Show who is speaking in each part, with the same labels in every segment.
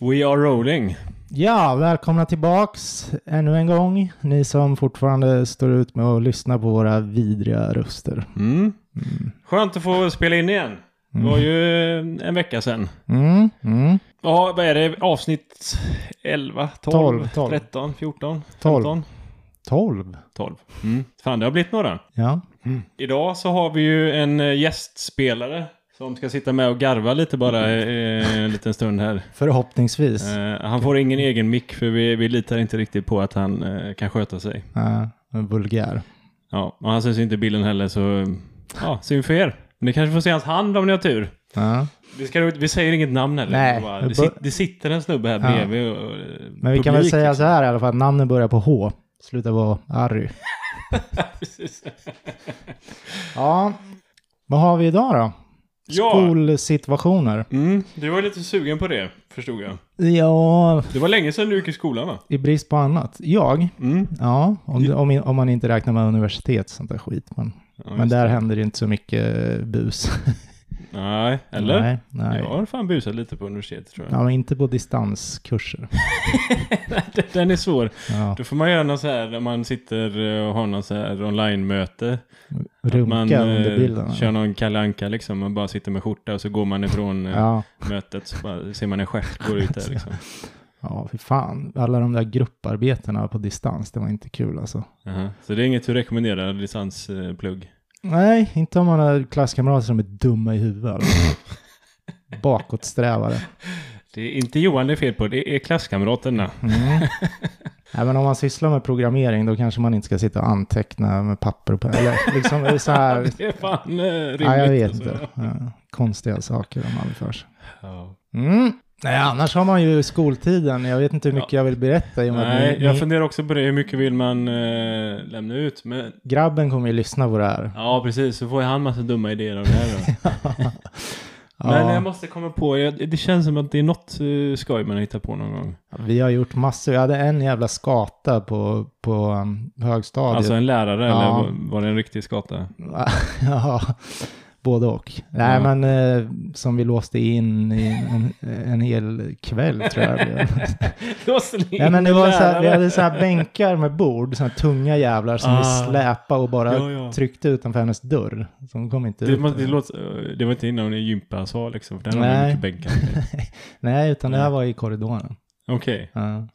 Speaker 1: We are rolling.
Speaker 2: Ja, välkomna tillbaks ännu en gång. Ni som fortfarande står ut med att lyssna på våra vidriga röster.
Speaker 1: Mm. Skönt att få spela in igen. Det var ju en vecka sedan.
Speaker 2: Mm, mm.
Speaker 1: Ja, vad är det? Avsnitt 11, 12,
Speaker 2: Tolv, tolv.
Speaker 1: 13, 14,
Speaker 2: Tolv.
Speaker 1: 15?
Speaker 2: 12.
Speaker 1: 12. Mm. Fan, det har blivit några.
Speaker 2: Ja.
Speaker 1: Idag så har vi ju en eh, gästspelare som ska sitta med och garva lite bara eh, en liten stund här.
Speaker 2: Förhoppningsvis.
Speaker 1: Eh, han får ingen egen mick för vi, vi litar inte riktigt på att han eh, kan sköta sig.
Speaker 2: Äh, vulgär.
Speaker 1: Ja, och han syns inte i bilden heller så ja, synd för er. Men ni kanske får se hans hand om ni har tur.
Speaker 2: Ja.
Speaker 1: Vi, ska, vi säger inget namn heller.
Speaker 2: Nej.
Speaker 1: Det bara- det, sit, det sitter en snubbe här
Speaker 2: Ja.
Speaker 1: bredvid. Och, och,
Speaker 2: Men vi kan väl säga så här i alla fall, namnen börjar på H. Sluta vara Harry. Ja. Vad har vi idag då?
Speaker 1: Ja,
Speaker 2: Skolsituationer.
Speaker 1: mm, du var lite sugen på det förstod jag.
Speaker 2: Ja,
Speaker 1: Det var länge sedan du gick i skolan va?
Speaker 2: i brist på annat. Jag?
Speaker 1: Mm.
Speaker 2: Ja, om, om, om man inte räknar med universitet och sånt där skit. Men,
Speaker 1: Ja,
Speaker 2: men
Speaker 1: just
Speaker 2: där
Speaker 1: det.
Speaker 2: händer det inte så mycket bus.
Speaker 1: Nej, eller?
Speaker 2: Nej, nej.
Speaker 1: Jag har fan busat lite på universitetet tror jag.
Speaker 2: Ja, men inte på distanskurser.
Speaker 1: Den är svår.
Speaker 2: Ja.
Speaker 1: Då får man göra något så här när man sitter eh, och har något så här online-möte.
Speaker 2: Runka
Speaker 1: Man
Speaker 2: under bilden.
Speaker 1: eh, kör någon Kalle Anka liksom. Man bara sitter med skjorta och så går man ifrån eh,
Speaker 2: Ja,
Speaker 1: mötet så bara ser man en stjärt gå ut där liksom.
Speaker 2: ja, fy fan. Alla de där grupparbetena på distans, det var inte kul alltså.
Speaker 1: Aha. Så det är inget du rekommenderar, distansplugg?
Speaker 2: Nej, inte om man har klasskamrater som är dumma i huvudet. alltså. Bakåtsträvare.
Speaker 1: Det är inte Johan det är fel på, det är klasskamraterna.
Speaker 2: Mm. Nej, men om man sysslar med programmering då kanske man inte ska sitta och anteckna med papper på. Eller liksom det är så här.
Speaker 1: Det är fan eh, rimligt.
Speaker 2: Nej, jag vet
Speaker 1: alltså.
Speaker 2: inte. Ja, konstiga saker de hade för sig.
Speaker 1: Ja.
Speaker 2: Mm. Nej, annars har man ju skoltiden. Jag vet inte hur mycket jag vill berätta. I och med att
Speaker 1: Nej,
Speaker 2: ni,
Speaker 1: jag
Speaker 2: ni,
Speaker 1: funderar också på det, hur mycket vill man eh, lämna ut? Men,
Speaker 2: Grabben kommer ju lyssna på det här.
Speaker 1: ja, precis, så får ju han massa dumma idéer av det här då.
Speaker 2: Ja,
Speaker 1: Men jag måste komma på, jag, det känns som att det är något eh, skoj man hittar på någon gång.
Speaker 2: Vi har gjort massor. Jag hade en jävla skata på, på um, högstadiet.
Speaker 1: Alltså en lärare, eller
Speaker 2: Ja.
Speaker 1: var- var det en riktig skata?
Speaker 2: ja, både och. Nej,
Speaker 1: Ja.
Speaker 2: men eh, som vi låste in i en, en hel kväll tror jag. det blev. Nej, men det var så här, vi hade så här bänkar med bord, så här tunga jävlar som vi
Speaker 1: Ah.
Speaker 2: släpade och bara
Speaker 1: Ja, ja.
Speaker 2: tryckte utanför hennes dörr. Så hon kom inte
Speaker 1: Det,
Speaker 2: ut.
Speaker 1: måste- det, låter, det var inte innan ni gympasal liksom, för där har
Speaker 2: Nej.
Speaker 1: man mycket bänkar.
Speaker 2: Nej, utan det här
Speaker 1: Nej.
Speaker 2: var i korridoren.
Speaker 1: Okej.
Speaker 2: Ja.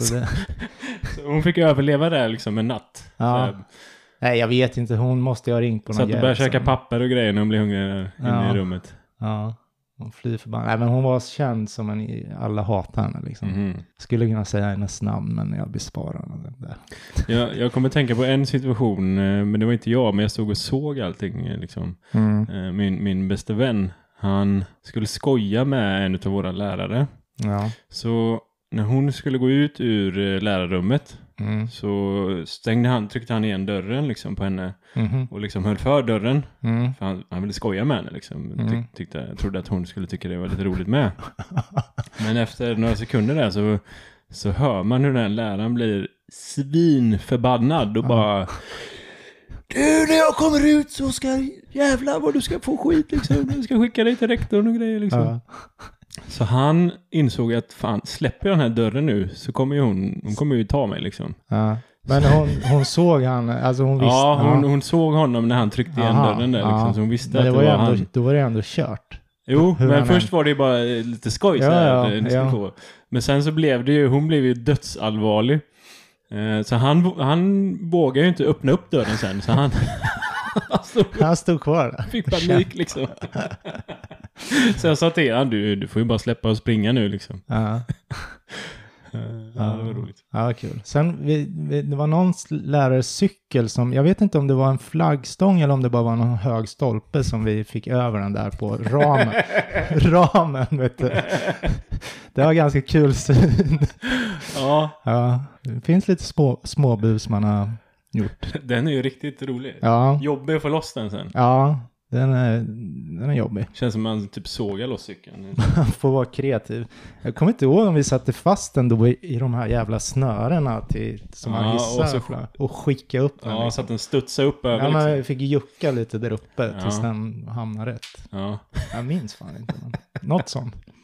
Speaker 2: Så det,
Speaker 1: Så Hon fick överleva där liksom en natt.
Speaker 2: ja. Nej, jag vet inte. Hon måste ju ha ringt på
Speaker 1: Så att
Speaker 2: någon
Speaker 1: du började
Speaker 2: som-
Speaker 1: käka papper och grejer när hon blev hungrig där inne
Speaker 2: Ja.
Speaker 1: i rummet.
Speaker 2: Ja, hon flyr förbannad. Nej, men hon var känd som en, alla hatar henne liksom.
Speaker 1: Mhm.
Speaker 2: Skulle kunna säga hennes namn, men jag besparar henne det.
Speaker 1: Jag, jag kommer tänka på en situation, eh, men det var inte jag, men jag stod och såg allting. eh, Liksom.
Speaker 2: Mm.
Speaker 1: Eh, Min, min bäste vän, han skulle skoja med en av våra lärare.
Speaker 2: Ja.
Speaker 1: Så när hon skulle gå ut ur eh, lärarrummet
Speaker 2: Mm.
Speaker 1: så stängde han, tryckte han igen dörren liksom på henne
Speaker 2: Mhm.
Speaker 1: och liksom höll för dörren.
Speaker 2: Mm.
Speaker 1: För han, han ville skoja med henne liksom.
Speaker 2: Mm.
Speaker 1: Tyck, tyckte, jag trodde att hon skulle tycka det var lite roligt med. Men efter några sekunder där så, så hör man hur den här läraren blir svinförbannad och bara Du, när jag kommer ut så ska jävlar vad du ska få skit liksom. Du ska skicka dig till rektorn och grejer liksom.
Speaker 2: Ja.
Speaker 1: Så han insåg att fan, släpper jag den här dörren nu så kommer ju hon, hon kommer ju ta mig liksom.
Speaker 2: Ja. Men hon, hon såg han, alltså hon visste.
Speaker 1: ja, hon, hon såg honom när han tryckte igen
Speaker 2: Aha,
Speaker 1: dörren där liksom.
Speaker 2: ja.
Speaker 1: Så hon visste
Speaker 2: men
Speaker 1: att
Speaker 2: det
Speaker 1: det
Speaker 2: var
Speaker 1: var,
Speaker 2: ju
Speaker 1: han.
Speaker 2: ändå, Då var det ändå kört.
Speaker 1: Jo,
Speaker 2: Hur
Speaker 1: men
Speaker 2: han
Speaker 1: först var det ju bara eh, lite skoj så
Speaker 2: Ja,
Speaker 1: här,
Speaker 2: ja,
Speaker 1: att, eh, ni skulle
Speaker 2: ja.
Speaker 1: få. Men sen så blev det ju, hon blev ju dödsallvarlig. Eh, Så han, vå- han vågade ju inte öppna upp dörren sen, så han alltså,
Speaker 2: Han stod kvar där.
Speaker 1: fick panik liksom. så jag sa till honom, du, du får ju bara släppa och springa nu liksom.
Speaker 2: Ja.
Speaker 1: Eh, Ja, det var roligt.
Speaker 2: Ja, vad kul. Sen, vi, vi, det var någon lärares cykel som, jag vet inte om det var en flaggstång eller om det bara var någon hög stolpe som vi fick över den där på ramen. ramen, vet du. Det var ganska kul syn.
Speaker 1: Ja,
Speaker 2: Ja, det finns lite små, småbus man har gjort.
Speaker 1: den är ju riktigt rolig.
Speaker 2: Ja,
Speaker 1: Jobbig att få loss den sen.
Speaker 2: ja den, är, den är jobbig.
Speaker 1: Känns som man typ sågar loss cykeln.
Speaker 2: Man får vara kreativ. Jag kommer inte ihåg om vi satte fast den då i, i de här jävla snörena till, som
Speaker 1: Ja,
Speaker 2: man
Speaker 1: och
Speaker 2: hissar
Speaker 1: så-
Speaker 2: och, och skicka upp den.
Speaker 1: Ja,
Speaker 2: liksom.
Speaker 1: så att den studsar upp över
Speaker 2: Ja, man
Speaker 1: liksom.
Speaker 2: fick jucka lite där uppe tills
Speaker 1: Ja.
Speaker 2: den hamnade rätt.
Speaker 1: Ja.
Speaker 2: Jag minns fan inte. Men något sånt.
Speaker 1: Nej,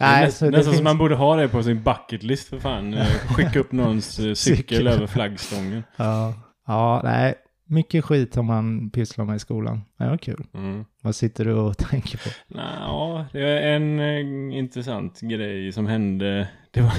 Speaker 2: Nej,
Speaker 1: nästan
Speaker 2: så det
Speaker 1: nästan
Speaker 2: finns...
Speaker 1: som man borde ha det på sin bucketlist för fan. Eh, Skicka upp någons eh, cykel
Speaker 2: Cykel.
Speaker 1: över flaggstången.
Speaker 2: ja. ja, nej. Mycket skit om man pysslar med i skolan. Ja, det var kul.
Speaker 1: Mm.
Speaker 2: Vad sitter du och tänker på?
Speaker 1: Nja, ja, det är en eh, intressant grej som hände. Det var,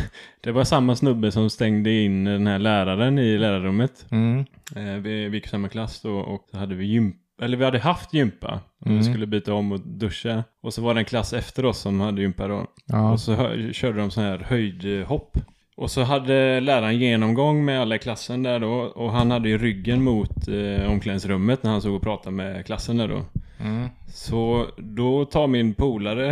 Speaker 1: det var samma snubbe som stängde in den här läraren i lärarrummet.
Speaker 2: Mm.
Speaker 1: Eh, vi, vi gick i samma klass då och så hade vi gympa. Eller vi hade haft gympa. och Vi
Speaker 2: Mm.
Speaker 1: skulle byta om och duscha. Och så var det en klass efter oss som hade gympa då.
Speaker 2: Ja.
Speaker 1: Och så hö- körde de så här höjdhopp. Och så hade läraren genomgång med alla i klassen där då. Och han hade ju ryggen mot eh, omklädningsrummet när han såg och pratade med klassen där då.
Speaker 2: Mm.
Speaker 1: Så då tar min polare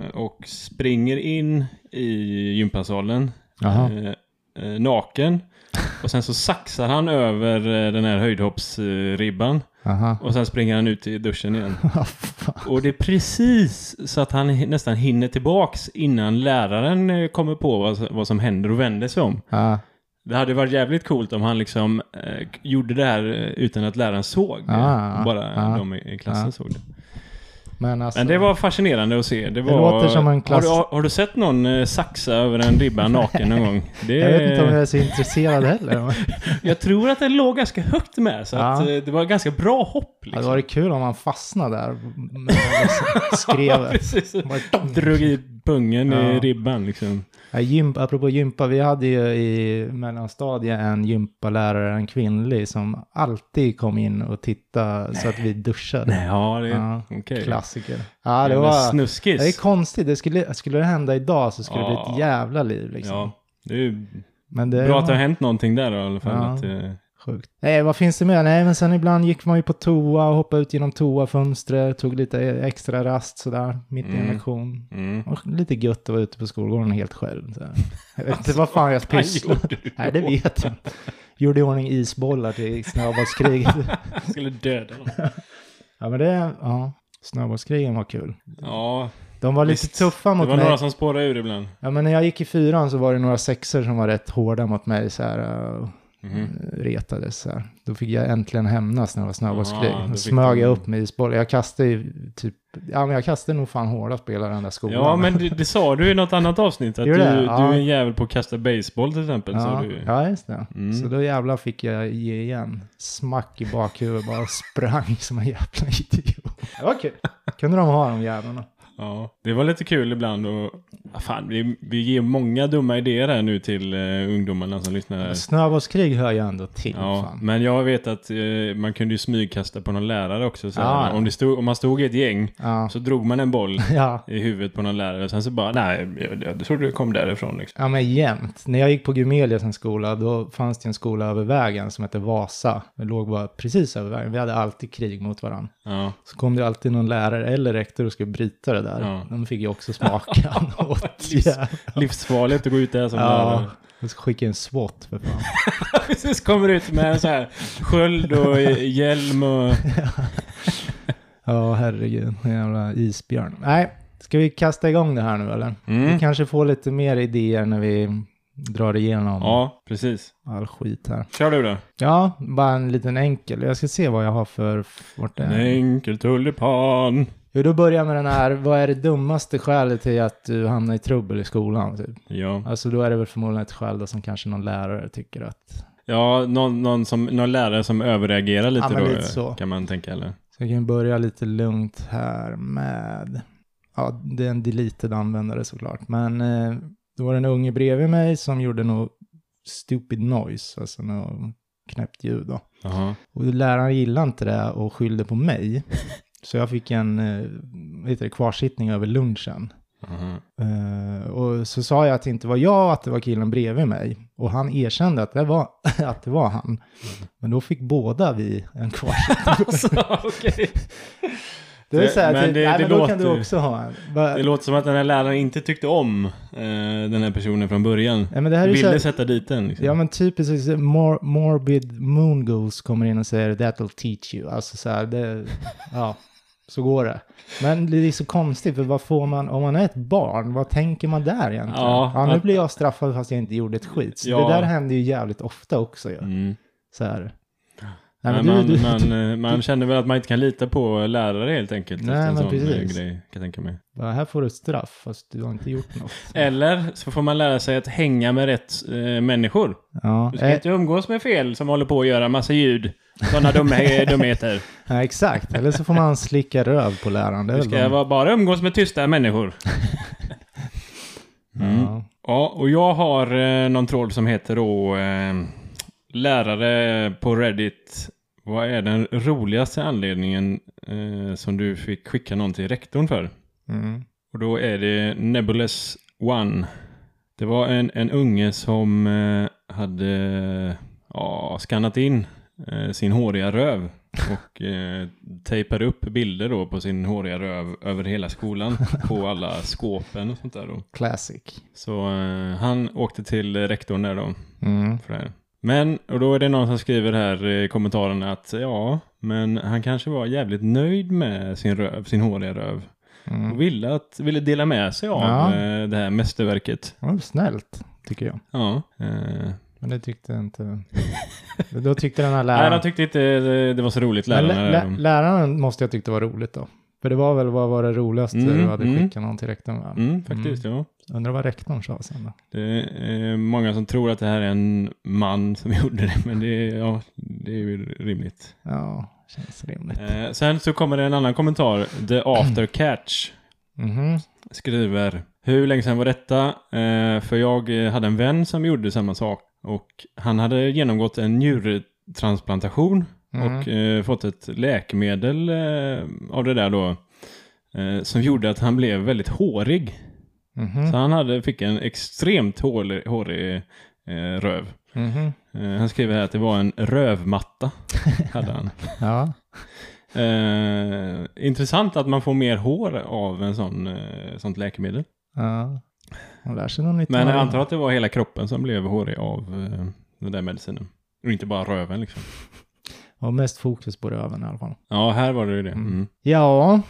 Speaker 1: eh, och springer in i gympasalen.
Speaker 2: Jaha.
Speaker 1: Eh, eh, naken. Och sen så saxar han över eh, den här höjdhoppsribban.
Speaker 2: Aha.
Speaker 1: Och sen springer han ut i duschen igen.
Speaker 2: Vad fan.
Speaker 1: Och det är precis så att han hi- nästan hinner tillbaks innan läraren eh, kommer på vad, s- vad som händer och vänder sig om.
Speaker 2: Ja.
Speaker 1: Det hade varit jävligt coolt om han liksom eh, k- gjorde det här eh, utan att läraren såg.
Speaker 2: Ah,
Speaker 1: Bara
Speaker 2: ah,
Speaker 1: de i i klassen
Speaker 2: ah.
Speaker 1: såg det.
Speaker 2: Men alltså...
Speaker 1: Men det var fascinerande att se. Det, var,
Speaker 2: låter som en klass-
Speaker 1: har, du, har du sett någon eh, saxa över en ribba naken någon gång? Det,
Speaker 2: Jag vet inte om jag är så intresserad heller.
Speaker 1: jag tror att den låg ganska högt med, så att,
Speaker 2: Ja.
Speaker 1: eh, det var ganska bra hopp.
Speaker 2: Det hade
Speaker 1: Liksom.
Speaker 2: varit kul om man fastnade där. Men liksom skrev.
Speaker 1: Precis.
Speaker 2: Bara-
Speaker 1: Drog i pungen i
Speaker 2: Ja.
Speaker 1: ribban liksom.
Speaker 2: Ja, gymp, apropå gympa, vi hade ju i mellanstadiet en gympalärare, en kvinnlig, som alltid kom in och tittade så att vi duschade.
Speaker 1: Nej, ja, det är
Speaker 2: Ja,
Speaker 1: okej.
Speaker 2: Klassiker. Ja, det
Speaker 1: Men
Speaker 2: var...
Speaker 1: Snuskis.
Speaker 2: Det är konstigt, det skulle, skulle det hända idag så skulle det bli
Speaker 1: Ja.
Speaker 2: ett jävla liv liksom.
Speaker 1: ja, det är ju
Speaker 2: Men det
Speaker 1: bra att det har hänt någonting där då, i alla fall.
Speaker 2: Ja.
Speaker 1: Att, eh,
Speaker 2: Sjukt. Nej, vad finns det mer? Nej, men sen ibland gick man ju på toa och hoppade ut genom toafönstret, tog lite extra rast sådär, mitt i
Speaker 1: Mm.
Speaker 2: en lektion.
Speaker 1: mm.
Speaker 2: Och lite gött att vara ute på skolgården helt själv. Så här. Jag vet inte vad fan jag
Speaker 1: Vad
Speaker 2: pysslade
Speaker 1: gjorde du
Speaker 2: Nej, det
Speaker 1: då?
Speaker 2: vet jag inte. Gjorde i ordning isbollar till snöbollskriget.
Speaker 1: Jag skulle döda någon.
Speaker 2: ja, men det, ja. Snöbollskrigen var kul.
Speaker 1: Ja,
Speaker 2: De var lite
Speaker 1: visst.
Speaker 2: tuffa
Speaker 1: det
Speaker 2: mot
Speaker 1: var
Speaker 2: mig.
Speaker 1: några som spårade ur ibland.
Speaker 2: Ja, men när jag gick i fyran så var det några sexer som var rätt hårda mot mig så här. eh,
Speaker 1: Mhm.
Speaker 2: retades. Så här. Då fick jag äntligen hämnas när det var snöbollskrig.
Speaker 1: Aha, Ah, då
Speaker 2: Då
Speaker 1: fick
Speaker 2: smög
Speaker 1: du-
Speaker 2: jag upp med isbollar. Jag kastade ju typ, ja men jag kastade nog fan hårdast på hela den där skolan.
Speaker 1: Ja, men det, det sa du i något annat avsnitt. Att du,
Speaker 2: Gjorde
Speaker 1: du
Speaker 2: det? Ja.
Speaker 1: är en jävel på att kasta baseball till exempel. Sa
Speaker 2: Ja,
Speaker 1: du.
Speaker 2: ja, just det.
Speaker 1: Mm.
Speaker 2: Så då jävlar fick jag ge igen. Smack i bakhuvudet, bara sprang som en jävla idiot. Det var kul. Kunde de ha de jävlarna?
Speaker 1: Ja, det var lite kul ibland och... Ah, fan, vi, vi ger många dumma idéer här nu till eh, ungdomarna som lyssnar. Här.
Speaker 2: Snöbollskrig hör jag ändå till.
Speaker 1: Ja,
Speaker 2: Fan.
Speaker 1: men jag vet att eh, man kunde ju smygkasta på någon lärare också. Så
Speaker 2: Ja.
Speaker 1: här. om, det stod, om man stod i ett gäng
Speaker 2: Ja.
Speaker 1: så drog man en boll
Speaker 2: ja.
Speaker 1: i huvudet på någon lärare. Sen så bara, nej, jag, jag trodde det kom därifrån liksom.
Speaker 2: Ja men jämt. När jag gick på Gumelius en skola, då fanns det en skola över vägen som hette Vasa. Det låg bara precis över vägen. Vi hade alltid krig mot varandra.
Speaker 1: Ja,
Speaker 2: Så kom det alltid någon lärare eller rektor och skulle bryta det där.
Speaker 1: Ja.
Speaker 2: De fick ju också smaka något.
Speaker 1: Livs-
Speaker 2: jävla-
Speaker 1: livsfarligt att gå ut där som lärare.
Speaker 2: Ja. Jag ska skicka en SWAT för fan.
Speaker 1: Precis, kommer ut med en så här sköld och hjälm och...
Speaker 2: Ja herregud, en jävla isbjörn. Nej, ska vi kasta igång det här nu eller? Vi
Speaker 1: Mm.
Speaker 2: kanske får lite mer idéer när vi drar igenom
Speaker 1: Ja, precis.
Speaker 2: all skit här.
Speaker 1: Kör du då.
Speaker 2: Ja, bara en liten enkel. Jag ska se vad jag har för... Vart det
Speaker 1: En
Speaker 2: är.
Speaker 1: enkel tulpan.
Speaker 2: Jo, då börjar jag med den här, vad är det dummaste skälet till att du hamnar i trubbel i skolan? Typ?
Speaker 1: Ja.
Speaker 2: Alltså då är det väl förmodligen ett skäl då som kanske någon lärare tycker att...
Speaker 1: Ja, någon, någon, som, någon lärare som överreagerar lite
Speaker 2: Ja, men
Speaker 1: då,
Speaker 2: lite så.
Speaker 1: kan man tänka. Eller?
Speaker 2: Så jag kan ju börja lite lugnt här med... Ja, det är en deleted användare såklart, men eh, det var en unge bredvid mig som gjorde något stupid noise, alltså något knäppt ljud då.
Speaker 1: Jaha.
Speaker 2: Och läraren gillade inte det och skyllde på mig. Så jag fick en, eh, vad heter det, kvarsittning över lunchen.
Speaker 1: Jaha.
Speaker 2: Eh, och så sa jag att det inte var jag, att det var killen bredvid mig. Och han erkände att det var, att det var han. Men då fick båda vi en kvar.
Speaker 1: Alltså, okej.
Speaker 2: Det vill säga,
Speaker 1: Men
Speaker 2: men
Speaker 1: det-
Speaker 2: nej,
Speaker 1: det
Speaker 2: men då kan
Speaker 1: låter-
Speaker 2: du också ha en. Va,
Speaker 1: Det låter som att den här läraren inte tyckte om eh, den här personen från början.
Speaker 2: nej, men det här är ju så
Speaker 1: Ville
Speaker 2: här,
Speaker 1: sätta dit den. Liksom.
Speaker 2: ja, men typ typiskt så här, mor, morbid moongoose kommer in och säger that'll teach you. Alltså så här, det, ja, så går det. Men det är så konstigt, för vad får man, om man är ett barn, vad tänker man där egentligen?
Speaker 1: Ja,
Speaker 2: Ja, nu
Speaker 1: att-
Speaker 2: blir jag straffad fast jag inte gjorde ett skit. Så
Speaker 1: Ja.
Speaker 2: det där händer ju jävligt ofta också ju.
Speaker 1: mm.
Speaker 2: Så här. Nej,
Speaker 1: men
Speaker 2: men du-
Speaker 1: man,
Speaker 2: du-
Speaker 1: man,
Speaker 2: du-
Speaker 1: eh, man känner väl att man inte kan lita på lärare helt enkelt.
Speaker 2: Nej,
Speaker 1: efter en
Speaker 2: men
Speaker 1: sån eh,
Speaker 2: precis.
Speaker 1: grej, kan jag tänka mig.
Speaker 2: Bara, här får du ett straff, fast du har inte gjort något.
Speaker 1: Eller så får man lära sig att hänga med rätt eh, människor.
Speaker 2: Ja,
Speaker 1: Du ska
Speaker 2: eh,
Speaker 1: inte umgås med fel som håller på att göra massa ljud. Sådana dumma, eh, dumheter.
Speaker 2: ja, exakt. Eller så får man slicka röv på läraren. Det är
Speaker 1: Du
Speaker 2: väl
Speaker 1: ska
Speaker 2: de-
Speaker 1: vara- bara umgås med tysta människor. Mm.
Speaker 2: ja.
Speaker 1: Ja, och jag har eh, någon tråd som heter då eh, lärare på Reddit. Vad är den roligaste anledningen eh, som du fick skicka någon till rektorn för?
Speaker 2: Mm.
Speaker 1: Och då är det Nebulous One. Det var en, en unge som eh, hade ja, skannat in eh, sin håriga röv och eh, tejpade upp bilder då på sin håriga röv över hela skolan på alla skåpen och sånt där då.
Speaker 2: Classic.
Speaker 1: Så eh, han åkte till rektorn där då
Speaker 2: Mm.
Speaker 1: för det här. Men, och då är det någon som skriver här i kommentaren att ja, men han kanske var jävligt nöjd med sin röv, sin håriga röv. Och
Speaker 2: Mm.
Speaker 1: ville, att, ville dela med sig av
Speaker 2: Ja.
Speaker 1: eh, det här mästerverket.
Speaker 2: Det var snällt, tycker jag.
Speaker 1: Ja. Eh,
Speaker 2: Men det tyckte jag inte... Då tyckte den här
Speaker 1: nej,
Speaker 2: läraren...
Speaker 1: de tyckte eh, inte det, det var så roligt,
Speaker 2: Men
Speaker 1: lärarna.
Speaker 2: lä-
Speaker 1: där.
Speaker 2: lä- läraren måste jag tycka var roligt då. För det var väl vad var det roligaste
Speaker 1: Mm,
Speaker 2: du hade
Speaker 1: mm.
Speaker 2: skickat någon till rektorn med.
Speaker 1: Mm, faktiskt, ja.
Speaker 2: Undrar vad rektorn sa sen då.
Speaker 1: Det är många som tror att det här är en man som gjorde det, men det, är- ja, det är ju rimligt.
Speaker 2: Ja, känns rimligt.
Speaker 1: Eh, sen så kommer det en annan kommentar. The After Catch mm-hmm.
Speaker 2: Mhm.
Speaker 1: skriver. Hur länge sedan var detta? Eh, för jag eh, hade en vän som gjorde samma sak. Och han hade genomgått en njurtransplantation.
Speaker 2: Mm.
Speaker 1: Och eh, fått ett läkemedel eh, av det där då. Eh, som gjorde att han blev väldigt hårig.
Speaker 2: Mhm.
Speaker 1: Så han hade, fick en extremt hårig, hårig eh, röv.
Speaker 2: Mhm.
Speaker 1: Eh, han skriver här att det var en rövmatta. hade han.
Speaker 2: Ja.
Speaker 1: Eh, intressant att man får mer hår av en sån, eh, sånt läkemedel.
Speaker 2: ja. Man lär sig något nytt.
Speaker 1: Men jag
Speaker 2: varje
Speaker 1: antar
Speaker 2: dag.
Speaker 1: att det var hela kroppen som blev hårig av eh, den där medicinen. Och inte bara röven liksom.
Speaker 2: Och mest fokus på röven i alla fall.
Speaker 1: Ja, här var det ju det.
Speaker 2: Mm.
Speaker 1: Mm.
Speaker 2: Ja,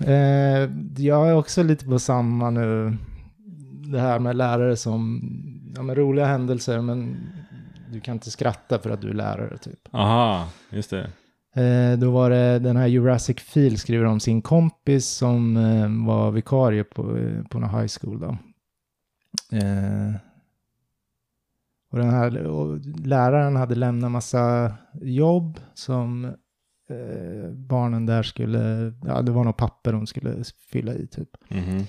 Speaker 2: eh, jag är också lite på samma nu. Det här med lärare som, ja men roliga händelser men du kan inte skratta för att du är lärare typ.
Speaker 1: Aha, just det.
Speaker 2: Eh, då var det den här Jurassic Field skriver om sin kompis som eh, var vikarie på, eh, på någon high school då. Eh, och den här och läraren hade lämnat massa jobb som eh, barnen där skulle, ja det var något papper de skulle fylla i typ.
Speaker 1: Mhm.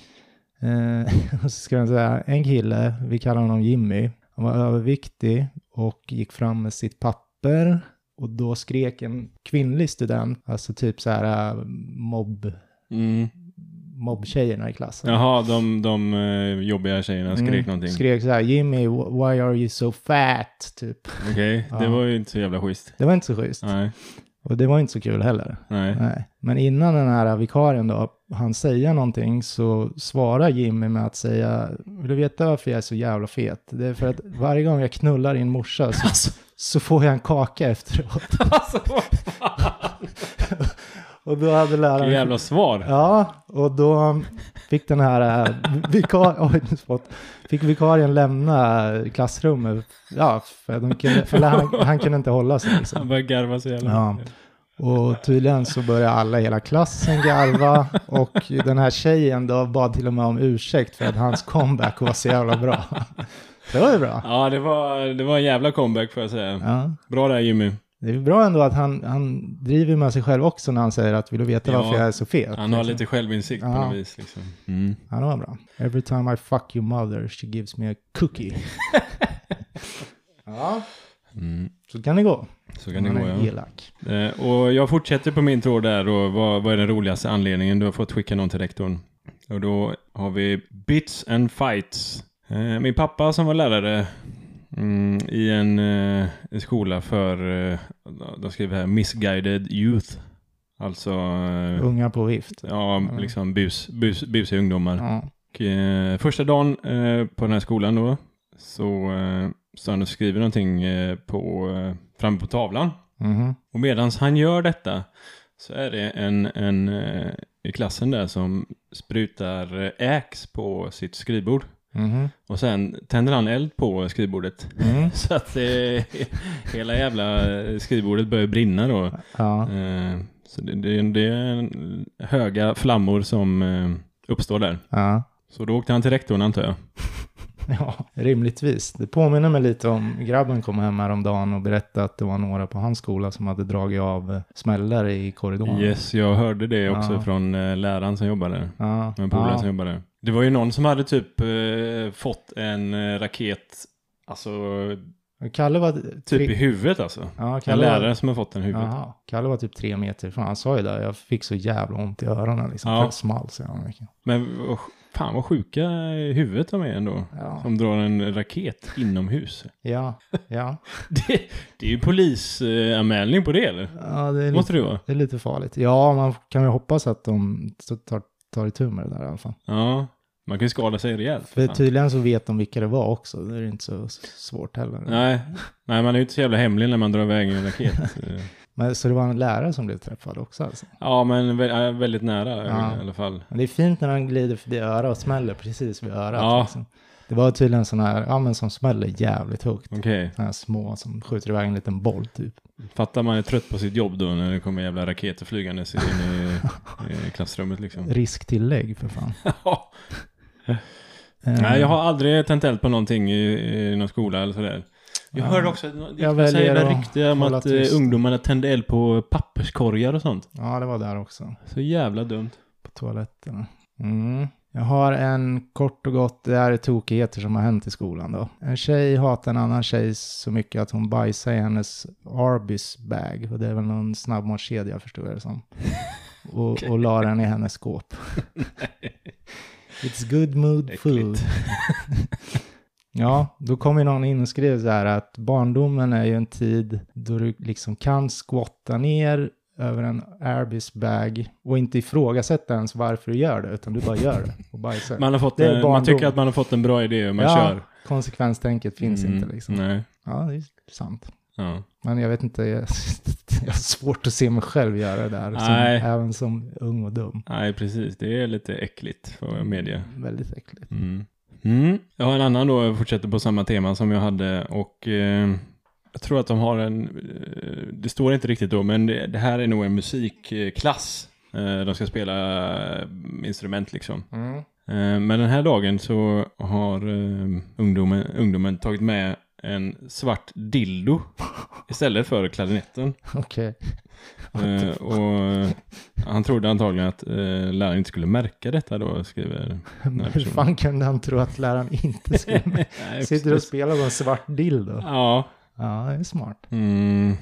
Speaker 2: Eh, och så ska jag säga, en kille, vi kallar honom Jimmy, han var överviktig och gick fram med sitt papper och då skrek en kvinnlig student, alltså typ så här eh, mobb,
Speaker 1: Mm.
Speaker 2: mobbtjejerna i klassen.
Speaker 1: Jaha, de, de eh, jobbiga tjejerna skrek
Speaker 2: Mm,
Speaker 1: någonting.
Speaker 2: Skrek så här, Jimmy, wh- why are you so fat? Typ.
Speaker 1: Okej, det
Speaker 2: Ja.
Speaker 1: var ju inte så jävla schysst.
Speaker 2: Det var inte så schysst.
Speaker 1: Nej,
Speaker 2: Och det var inte så kul heller.
Speaker 1: nej.
Speaker 2: Nej. Men innan den här vikarien då, han säger någonting så svarar Jimmy med att säga, vill du veta varför jag är så jävla fet? Det är för att varje gång jag knullar din morsa så, så får jag en kaka efteråt.
Speaker 1: Alltså, vad
Speaker 2: Och då hade läraren...
Speaker 1: Vilket jävla svar.
Speaker 2: Ja, och då fick den här eh, vikar... Oj, nu spott. Fick vikarien lämna klassrummet. Ja, för de kunde, eller han, han kunde inte hålla sig liksom.
Speaker 1: Han började garva så jävla
Speaker 2: Ja.
Speaker 1: mycket.
Speaker 2: Och tydligen så började alla i hela klassen garva och den här tjejen då bad till och med om ursäkt för att hans comeback var så jävla bra. Det var ju bra.
Speaker 1: Ja, det var, det var en jävla comeback får jag säga.
Speaker 2: Ja.
Speaker 1: Bra där Jimmy.
Speaker 2: Det är ju bra ändå att han, han driver med sig själv också när han säger att vill du veta
Speaker 1: Ja.
Speaker 2: varför jag är så fet?
Speaker 1: Han har lite självinsikt på
Speaker 2: Ja.
Speaker 1: något vis. Liksom. Mm.
Speaker 2: Ja, det var bra. Every time I fuck your mother she gives me a cookie. ja,
Speaker 1: Mm.
Speaker 2: så kan det gå.
Speaker 1: Så kan det
Speaker 2: Man
Speaker 1: gå
Speaker 2: är
Speaker 1: ja.
Speaker 2: elak.
Speaker 1: Eh, och jag fortsätter på min tråd där och vad, vad är den roligaste anledningen du har fått skicka någon till rektorn? Och då har vi Bits and Fights. Eh, min pappa som var lärare mm, i en eh, en skola för, eh, de skriver här, misguided youth. Alltså, eh,
Speaker 2: Unga på vift.
Speaker 1: ja, liksom bus, bus, busiga ungdomar.
Speaker 2: Ja.
Speaker 1: Och, eh, första dagen eh, på den här skolan då så eh, står han och skriver någonting eh, på, eh, framme på tavlan.
Speaker 2: Mhm.
Speaker 1: Och medan han gör detta så är det en, en eh, i klassen där som sprutar eh, äx på sitt skrivbord.
Speaker 2: Mhm.
Speaker 1: Och sen tänder han eld på skrivbordet.
Speaker 2: Mm.
Speaker 1: Så att eh, hela jävla eh, skrivbordet börjar brinna då.
Speaker 2: Ja.
Speaker 1: Eh, så det, det, det är en- höga flammor som eh, uppstår där.
Speaker 2: ja.
Speaker 1: Så då åkte han till rektorn antar jag.
Speaker 2: Ja, rimligtvis. Det påminner mig lite om grabben kom hem häromdagen och berättade att det var några på hans skola som hade dragit av eh, smällare i korridoren.
Speaker 1: Yes, jag hörde det också
Speaker 2: Ja.
Speaker 1: från eh, läraren som jobbade där.
Speaker 2: Ja.
Speaker 1: En polare
Speaker 2: ja.
Speaker 1: som jobbade där. Det var ju någon som hade typ eh, fått en eh, raket, alltså
Speaker 2: Kalle var
Speaker 1: typ i huvudet alltså.
Speaker 2: Ja,
Speaker 1: En
Speaker 2: Kalle var...
Speaker 1: lärare som har fått en i huvudet.
Speaker 2: Jaha. Kalle var typ tre meter ifrån. Han sa ju det, jag fick så jävla ont i öronen liksom.
Speaker 1: Ja.
Speaker 2: Det small så jävla mycket.
Speaker 1: Men vad- fan vad sjuka i huvudet de är ändå.
Speaker 2: Ja,
Speaker 1: Som drar en raket inomhus.
Speaker 2: ja, ja.
Speaker 1: Det, det är ju polisanmälning på det eller?
Speaker 2: ja det, är lite,
Speaker 1: Måste det vara?
Speaker 2: det är lite farligt. Ja, man kan ju hoppas att de t- tar, tar itu med det där i alla fall.
Speaker 1: Ja. Man kan ju skada sig rejält.
Speaker 2: För typ-
Speaker 1: fan.
Speaker 2: tydligen så vet de vilka det var också. Det är ju inte så s- svårt heller.
Speaker 1: Nej. Nej, man är ju inte så jävla hemlig när man drar iväg en raket. Eh,
Speaker 2: Men, så det var en lärare som blev träffad också alltså.
Speaker 1: ja, men vä- ja, väldigt nära
Speaker 2: Ja.
Speaker 1: i alla fall.
Speaker 2: Men det är fint när han glider förbi örat och smäller precis vid örat.
Speaker 1: Ja.
Speaker 2: Liksom. Det var tydligen sån här, ja men som smäller jävligt högt.
Speaker 1: Okej.
Speaker 2: Såna här små som skjuter iväg en liten boll typ.
Speaker 1: Fattar man är trött på sitt jobb då när det kommer jävla raketer flygandes in i, i klassrummet liksom.
Speaker 2: Risktillägg för fan.
Speaker 1: Ja.
Speaker 2: Eh,
Speaker 1: Nej, jag har aldrig tänt eld på någonting i, i någon skola eller sådär. Jag
Speaker 2: Ja.
Speaker 1: hörde också ett
Speaker 2: Jag
Speaker 1: jag
Speaker 2: väljer
Speaker 1: jävla
Speaker 2: att
Speaker 1: rykte om
Speaker 2: hålla
Speaker 1: att eh,
Speaker 2: tyst.
Speaker 1: ungdomarna tände eld på papperskorgar och sånt.
Speaker 2: Ja, det var där också.
Speaker 1: Så jävla dumt.
Speaker 2: På toaletterna. Mm. Jag har en kort och gott, det här är tokigheter som har hänt i skolan då. En tjej hatar en annan tjej så mycket att hon bajsar i hennes Arbis bag. Och det är väl någon snabbmatskedja förstår jag det som. Och, och la den i hennes skåp. It's good mood food.
Speaker 1: Äckligt.
Speaker 2: Ja, då kom ju någon in och skrev så här att barndomen är ju en tid då du liksom kan squatta ner över en Airbus bag och inte ifrågasätta ens varför du gör det, utan du bara gör det och bajsar.
Speaker 1: Man, har fått
Speaker 2: Det är
Speaker 1: en, man
Speaker 2: barndom.
Speaker 1: tycker att man har fått en bra idé och man
Speaker 2: ja,
Speaker 1: kör.
Speaker 2: konsekvenstänket finns
Speaker 1: Mm,
Speaker 2: inte liksom.
Speaker 1: Nej.
Speaker 2: Ja, det är sant.
Speaker 1: Ja.
Speaker 2: Men jag vet inte, jag, jag har svårt att se mig själv göra det där, som,
Speaker 1: Nej.
Speaker 2: även som ung och dum.
Speaker 1: Nej, precis. Det är lite äckligt för media.
Speaker 2: Väldigt äckligt.
Speaker 1: Mm. Mm. Jag har en annan då, jag fortsätter på samma tema som jag hade och eh, jag tror att de har en, eh, det står inte riktigt då, men det, det här är nog en musikklass. Eh, de ska spela eh, instrument liksom.
Speaker 2: Mm.
Speaker 1: Eh, Men den här dagen så har eh, ungdomen, ungdomen tagit med en svart dildo istället för klarinetten.
Speaker 2: Okej.
Speaker 1: Eh, och eh, han trodde antagligen att eh, läraren inte skulle märka detta då, skriver...
Speaker 2: Men Hur
Speaker 1: personen.
Speaker 2: fan kunde han tro att läraren inte skulle...
Speaker 1: Nej,
Speaker 2: Sitter och
Speaker 1: precis.
Speaker 2: spelar på en svart dildo.
Speaker 1: Ja.
Speaker 2: Ja, det är smart.
Speaker 1: Mm.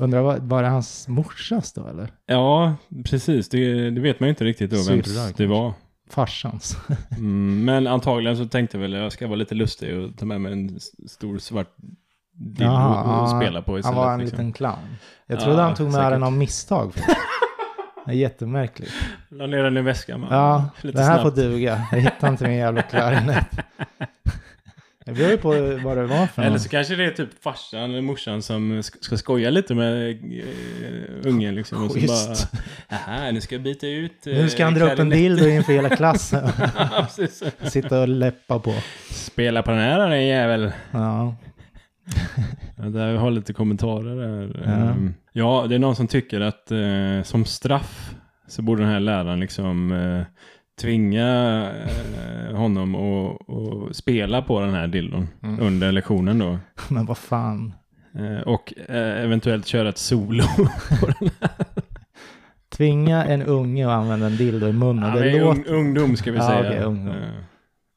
Speaker 2: Undrar, var, var det hans morsas då eller?
Speaker 1: Ja, precis. Det, det vet man ju inte riktigt då
Speaker 2: Syrra,
Speaker 1: vem
Speaker 2: kanske.
Speaker 1: det var.
Speaker 2: Farsans?
Speaker 1: Mm, men antagligen så tänkte väl jag ska vara lite lustig och ta med mig en s- stor svart dildo
Speaker 2: Jaha,
Speaker 1: och
Speaker 2: ja.
Speaker 1: spela på
Speaker 2: Han
Speaker 1: istället.
Speaker 2: var en
Speaker 1: liksom.
Speaker 2: liten clown. Jag trodde
Speaker 1: Ja,
Speaker 2: han tog med
Speaker 1: säkert.
Speaker 2: den av misstag. Det är jättemärkligt.
Speaker 1: La ner den i väskan bara.
Speaker 2: Ja,
Speaker 1: lite
Speaker 2: den här
Speaker 1: snabbt.
Speaker 2: får duga. Jag hittar inte min jävla klarinett. Det beror ju på vad det var för
Speaker 1: Eller
Speaker 2: någon.
Speaker 1: så kanske det är typ farsan eller morsan som sk- ska skoja lite med eh, ungen liksom. Och så
Speaker 2: Schysst.
Speaker 1: bara, "Aha, nu ska jag byta ut eh,
Speaker 2: Nu ska han dra upp en
Speaker 1: klarinetten."
Speaker 2: dildo inför hela klassen.
Speaker 1: Ja, precis.
Speaker 2: Sitta och läppa på.
Speaker 1: Spela på den här den jävel.
Speaker 2: Ja.
Speaker 1: Vänta, Jag har lite kommentarer där.
Speaker 2: Ja.
Speaker 1: Ehm, Ja, det är någon som tycker att eh, som straff så borde den här läraren liksom eh, tvinga eh, honom att att spela på den här dildon
Speaker 2: Mm.
Speaker 1: under lektionen då.
Speaker 2: Men vad fan.
Speaker 1: Eh, och eh, eventuellt köra ett solo.
Speaker 2: Tvinga en unge att använda en dildo i munnen.
Speaker 1: Ja,
Speaker 2: det
Speaker 1: det är
Speaker 2: låter...
Speaker 1: ung, ungdom ska vi
Speaker 2: Ja,
Speaker 1: säga.
Speaker 2: okej, ungdom.
Speaker 1: Eh,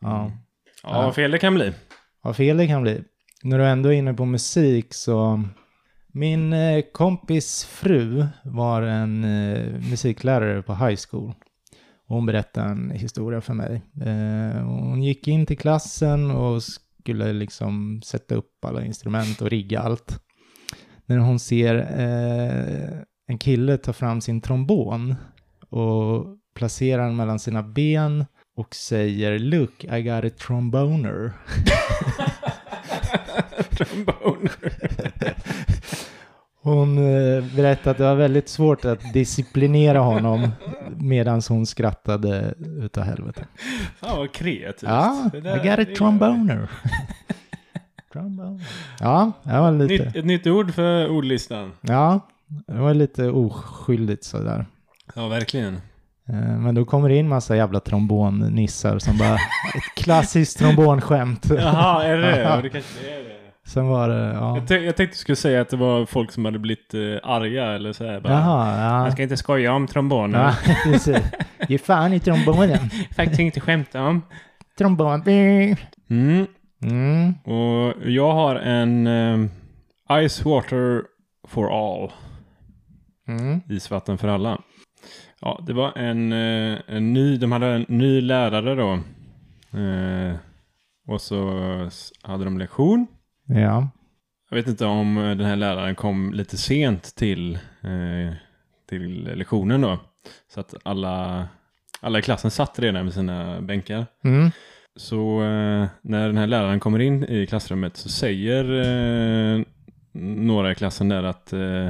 Speaker 2: Ja.
Speaker 1: ja, vad fel det kan bli.
Speaker 2: Vad fel det kan bli. När du ändå är inne på musik så... Min eh, kompis fru var en eh, musiklärare på high school. Och Hon berättade en historia för mig. Eh, hon gick in till klassen och skulle liksom sätta upp alla instrument och rigga allt. När hon ser eh, en kille ta fram sin trombon och placerar den mellan sina ben och säger “Look, I got a tromboner”. Hon eh, berättade att det var väldigt svårt att disciplinera honom medan hon skrattade utav helvete.
Speaker 1: Fan vad kreativt.
Speaker 2: Ja,
Speaker 1: Det
Speaker 2: I
Speaker 1: där-
Speaker 2: got a
Speaker 1: det är-
Speaker 2: tromboner. tromboner. Ja, det var lite...
Speaker 1: Nytt, ett nytt ord för ordlistan.
Speaker 2: Ja, det var lite oskyldigt sådär.
Speaker 1: Ja, verkligen.
Speaker 2: Eh, Men då kommer det in massa jävla trombonnissar som bara, ett klassiskt trombonskämt.
Speaker 1: Jaha, är det det?
Speaker 2: Ja.
Speaker 1: Ja, det? kanske är det.
Speaker 2: Sen var det, ja.
Speaker 1: Jag, tänkte- jag tänkte du skulle säga att det var folk som hade blivit eh, arga eller så här. Bara,
Speaker 2: Jaha, ja.
Speaker 1: Man ska inte skoja om tromboner.
Speaker 2: Ja, precis. Ge fan i trombonen.
Speaker 1: Faktiskt inte skämta om.
Speaker 2: Trombon.
Speaker 1: Mm.
Speaker 2: Mm.
Speaker 1: Och jag har en ehm, Ice Water for All.
Speaker 2: Mm.
Speaker 1: Isvatten för alla. Ja, det var en, eh, en ny, de hade en ny lärare då. Eh, och så s- hade de lektion.
Speaker 2: Ja.
Speaker 1: Jag vet inte om eh, den här läraren kom lite sent till, eh, till lektionen då. Så att alla, alla i klassen satt redan vid sina bänkar.
Speaker 2: Mm.
Speaker 1: Så eh, när den här läraren kommer in i klassrummet så säger eh, några i klassen där att eh,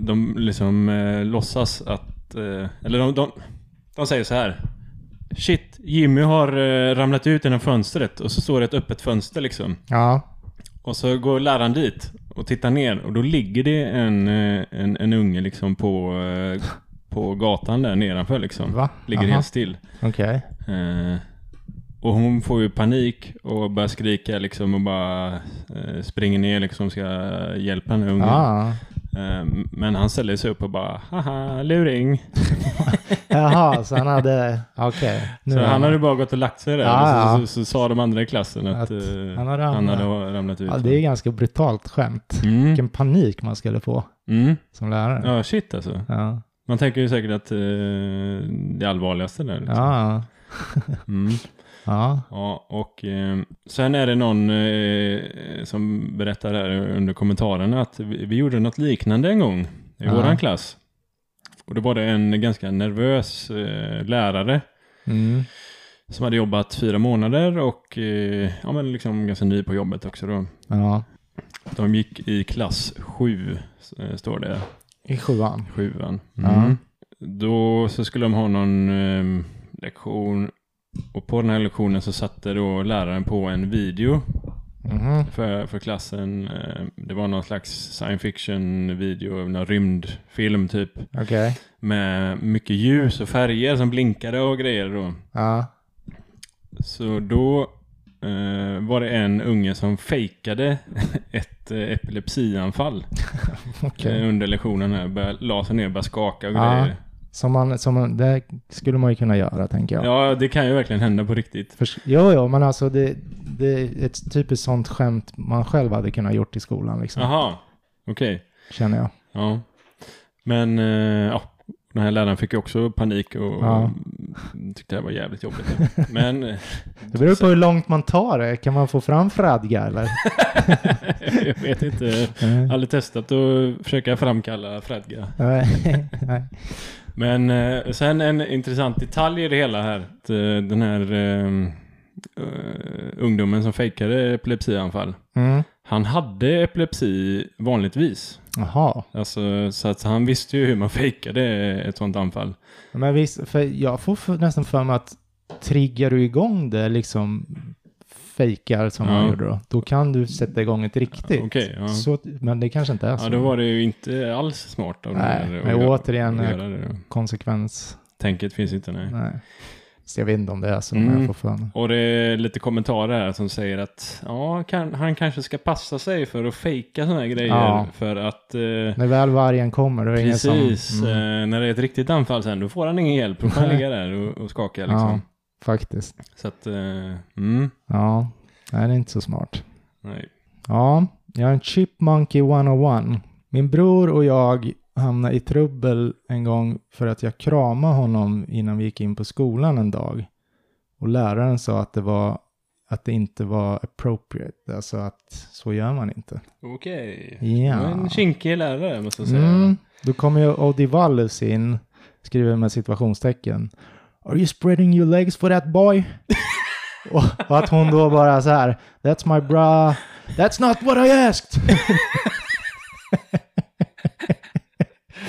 Speaker 1: de liksom eh, låtsas att, eh, eller de, de, de säger så här. Shit, Jimmy har eh, ramlat ut genom fönstret och så står det ett öppet fönster liksom.
Speaker 2: Ja.
Speaker 1: Och så går läraren dit och tittar ner och då ligger det en, eh, en, en unge liksom på, eh, på gatan där nedanför liksom.
Speaker 2: Va?
Speaker 1: Ligger
Speaker 2: Jaha.
Speaker 1: helt still.
Speaker 2: Okej.
Speaker 1: Eh, och hon får ju panik och börjar skrika liksom och bara eh, springer ner liksom ska hjälpa den här ungen.
Speaker 2: Ja.
Speaker 1: Eh, men han ställer sig upp och bara haha luring.
Speaker 2: Jaha, så han hade, okej. Nu
Speaker 1: Så
Speaker 2: har
Speaker 1: han hade bara gått och lagt sig där.
Speaker 2: Ah, Ja,
Speaker 1: och så, så, så, sa de andra i klassen att,
Speaker 2: Att
Speaker 1: eh,
Speaker 2: han har ramlat.
Speaker 1: han hade ramlat ut.
Speaker 2: Ja, det är ganska brutalt skämt.
Speaker 1: mm.
Speaker 2: Vilken panik man skulle få
Speaker 1: Mm.
Speaker 2: som lärare.
Speaker 1: Ja, shit alltså.
Speaker 2: Ja.
Speaker 1: Man tänker ju säkert att eh, det allvarligaste där. liksom.
Speaker 2: Ja.
Speaker 1: Mm.
Speaker 2: Ja.
Speaker 1: Ja, och eh, sen är det någon eh, som berättar här under kommentarerna att vi, vi gjorde något liknande en gång i
Speaker 2: Ja.
Speaker 1: våran klass. Och då var det en ganska nervös eh, lärare
Speaker 2: Mm.
Speaker 1: som hade jobbat fyra månader och eh, ja, men liksom ganska ny på jobbet också då.
Speaker 2: Ja.
Speaker 1: De gick i klass sju, eh, står det,
Speaker 2: I sjuan.
Speaker 1: sjuan.
Speaker 2: Ja.
Speaker 1: Då så skulle de ha någon eh, lektion och på den här lektionen så satte då läraren på en video
Speaker 2: Mhm.
Speaker 1: för, för klassen. eh, Det var någon slags science fiction video, någon rymdfilm typ.
Speaker 2: Okej.
Speaker 1: Med mycket ljus och färger som blinkade och grejer då.
Speaker 2: Ja.
Speaker 1: Så då eh, var det en unge som fejkade ett eh, epilepsianfall
Speaker 2: Okej.
Speaker 1: eh, under lektionen här. Började, la sig ner och började skaka och
Speaker 2: Ja.
Speaker 1: grejer.
Speaker 2: Som man, som man, det skulle man ju kunna göra, tänker jag.
Speaker 1: Ja, det kan ju verkligen hända på riktigt.
Speaker 2: Förs- jo, jo, men alltså det, det är ett typiskt sånt skämt man själv hade kunnat gjort i skolan, liksom,
Speaker 1: Jaha, okej.
Speaker 2: känner jag.
Speaker 1: Ja. Men eh, ja, den här läraren fick ju också panik och
Speaker 2: Ja.
Speaker 1: mm, tyckte det här var jävligt jobbigt. Men eh,
Speaker 2: Det beror på hur långt man tar det. Kan man få fram fradga eller?
Speaker 1: jag vet inte.
Speaker 2: Nej.
Speaker 1: Aldrig testat att försöka framkalla fradga.
Speaker 2: Nej. Nej.
Speaker 1: Men eh, sen en intressant detalj i det hela här. Att, eh, den här eh, eh, ungdomen som fejkade epilepsianfall.
Speaker 2: Mm.
Speaker 1: Han hade epilepsi vanligtvis.
Speaker 2: Jaha.
Speaker 1: Alltså, så att han visste ju hur man fejkade ett sånt anfall.
Speaker 2: Men visst, för jag får för, nästan för mig att triggar du igång det, liksom fejkar som
Speaker 1: Ja.
Speaker 2: man gjorde då, då kan du sätta igång ett riktigt.
Speaker 1: Okej, ja.
Speaker 2: Så, men det kanske inte är så.
Speaker 1: Ja, då var det ju inte alls smart av
Speaker 2: Alltså. Nej,
Speaker 1: det där att
Speaker 2: men
Speaker 1: gö-
Speaker 2: återigen,
Speaker 1: att
Speaker 2: eh,
Speaker 1: göra det. då.
Speaker 2: Konsekvens.
Speaker 1: Tänket finns inte, nej.
Speaker 2: Nej. Så jag vet inte om det är så, men
Speaker 1: Mm.
Speaker 2: jag får för mig.
Speaker 1: Och det är lite kommentarer här som säger att ja, kan, han kanske ska passa sig för att fejka sådana här grejer.
Speaker 2: Ja.
Speaker 1: För att eh,
Speaker 2: När väl vargen kommer, då är det ingen som...
Speaker 1: precis,
Speaker 2: Mm.
Speaker 1: eh, när det är ett riktigt anfall sen, då får han ingen hjälp. Då får han
Speaker 2: Nej.
Speaker 1: ligga där och, och skaka liksom.
Speaker 2: Ja, faktiskt.
Speaker 1: Så att, eh, mm,
Speaker 2: Ja, nej, det är inte så smart.
Speaker 1: nej.
Speaker 2: Ja, jag har en Chip Monkey 101. Min bror och jag hamnade i trubbel en gång för att jag kramade honom innan vi gick in på skolan en dag. Och läraren sa att det var att det inte var appropriate, alltså att så gör man inte.
Speaker 1: Okej.
Speaker 2: Ja.
Speaker 1: Det var En kinkig lärare måste jag säga.
Speaker 2: Mm. Då kommer ju Odi Wallace in, skriver med situationstecken. Are you spreading your legs for that boy? och, och att hon då bara så här, that's my bra, that's not what I asked.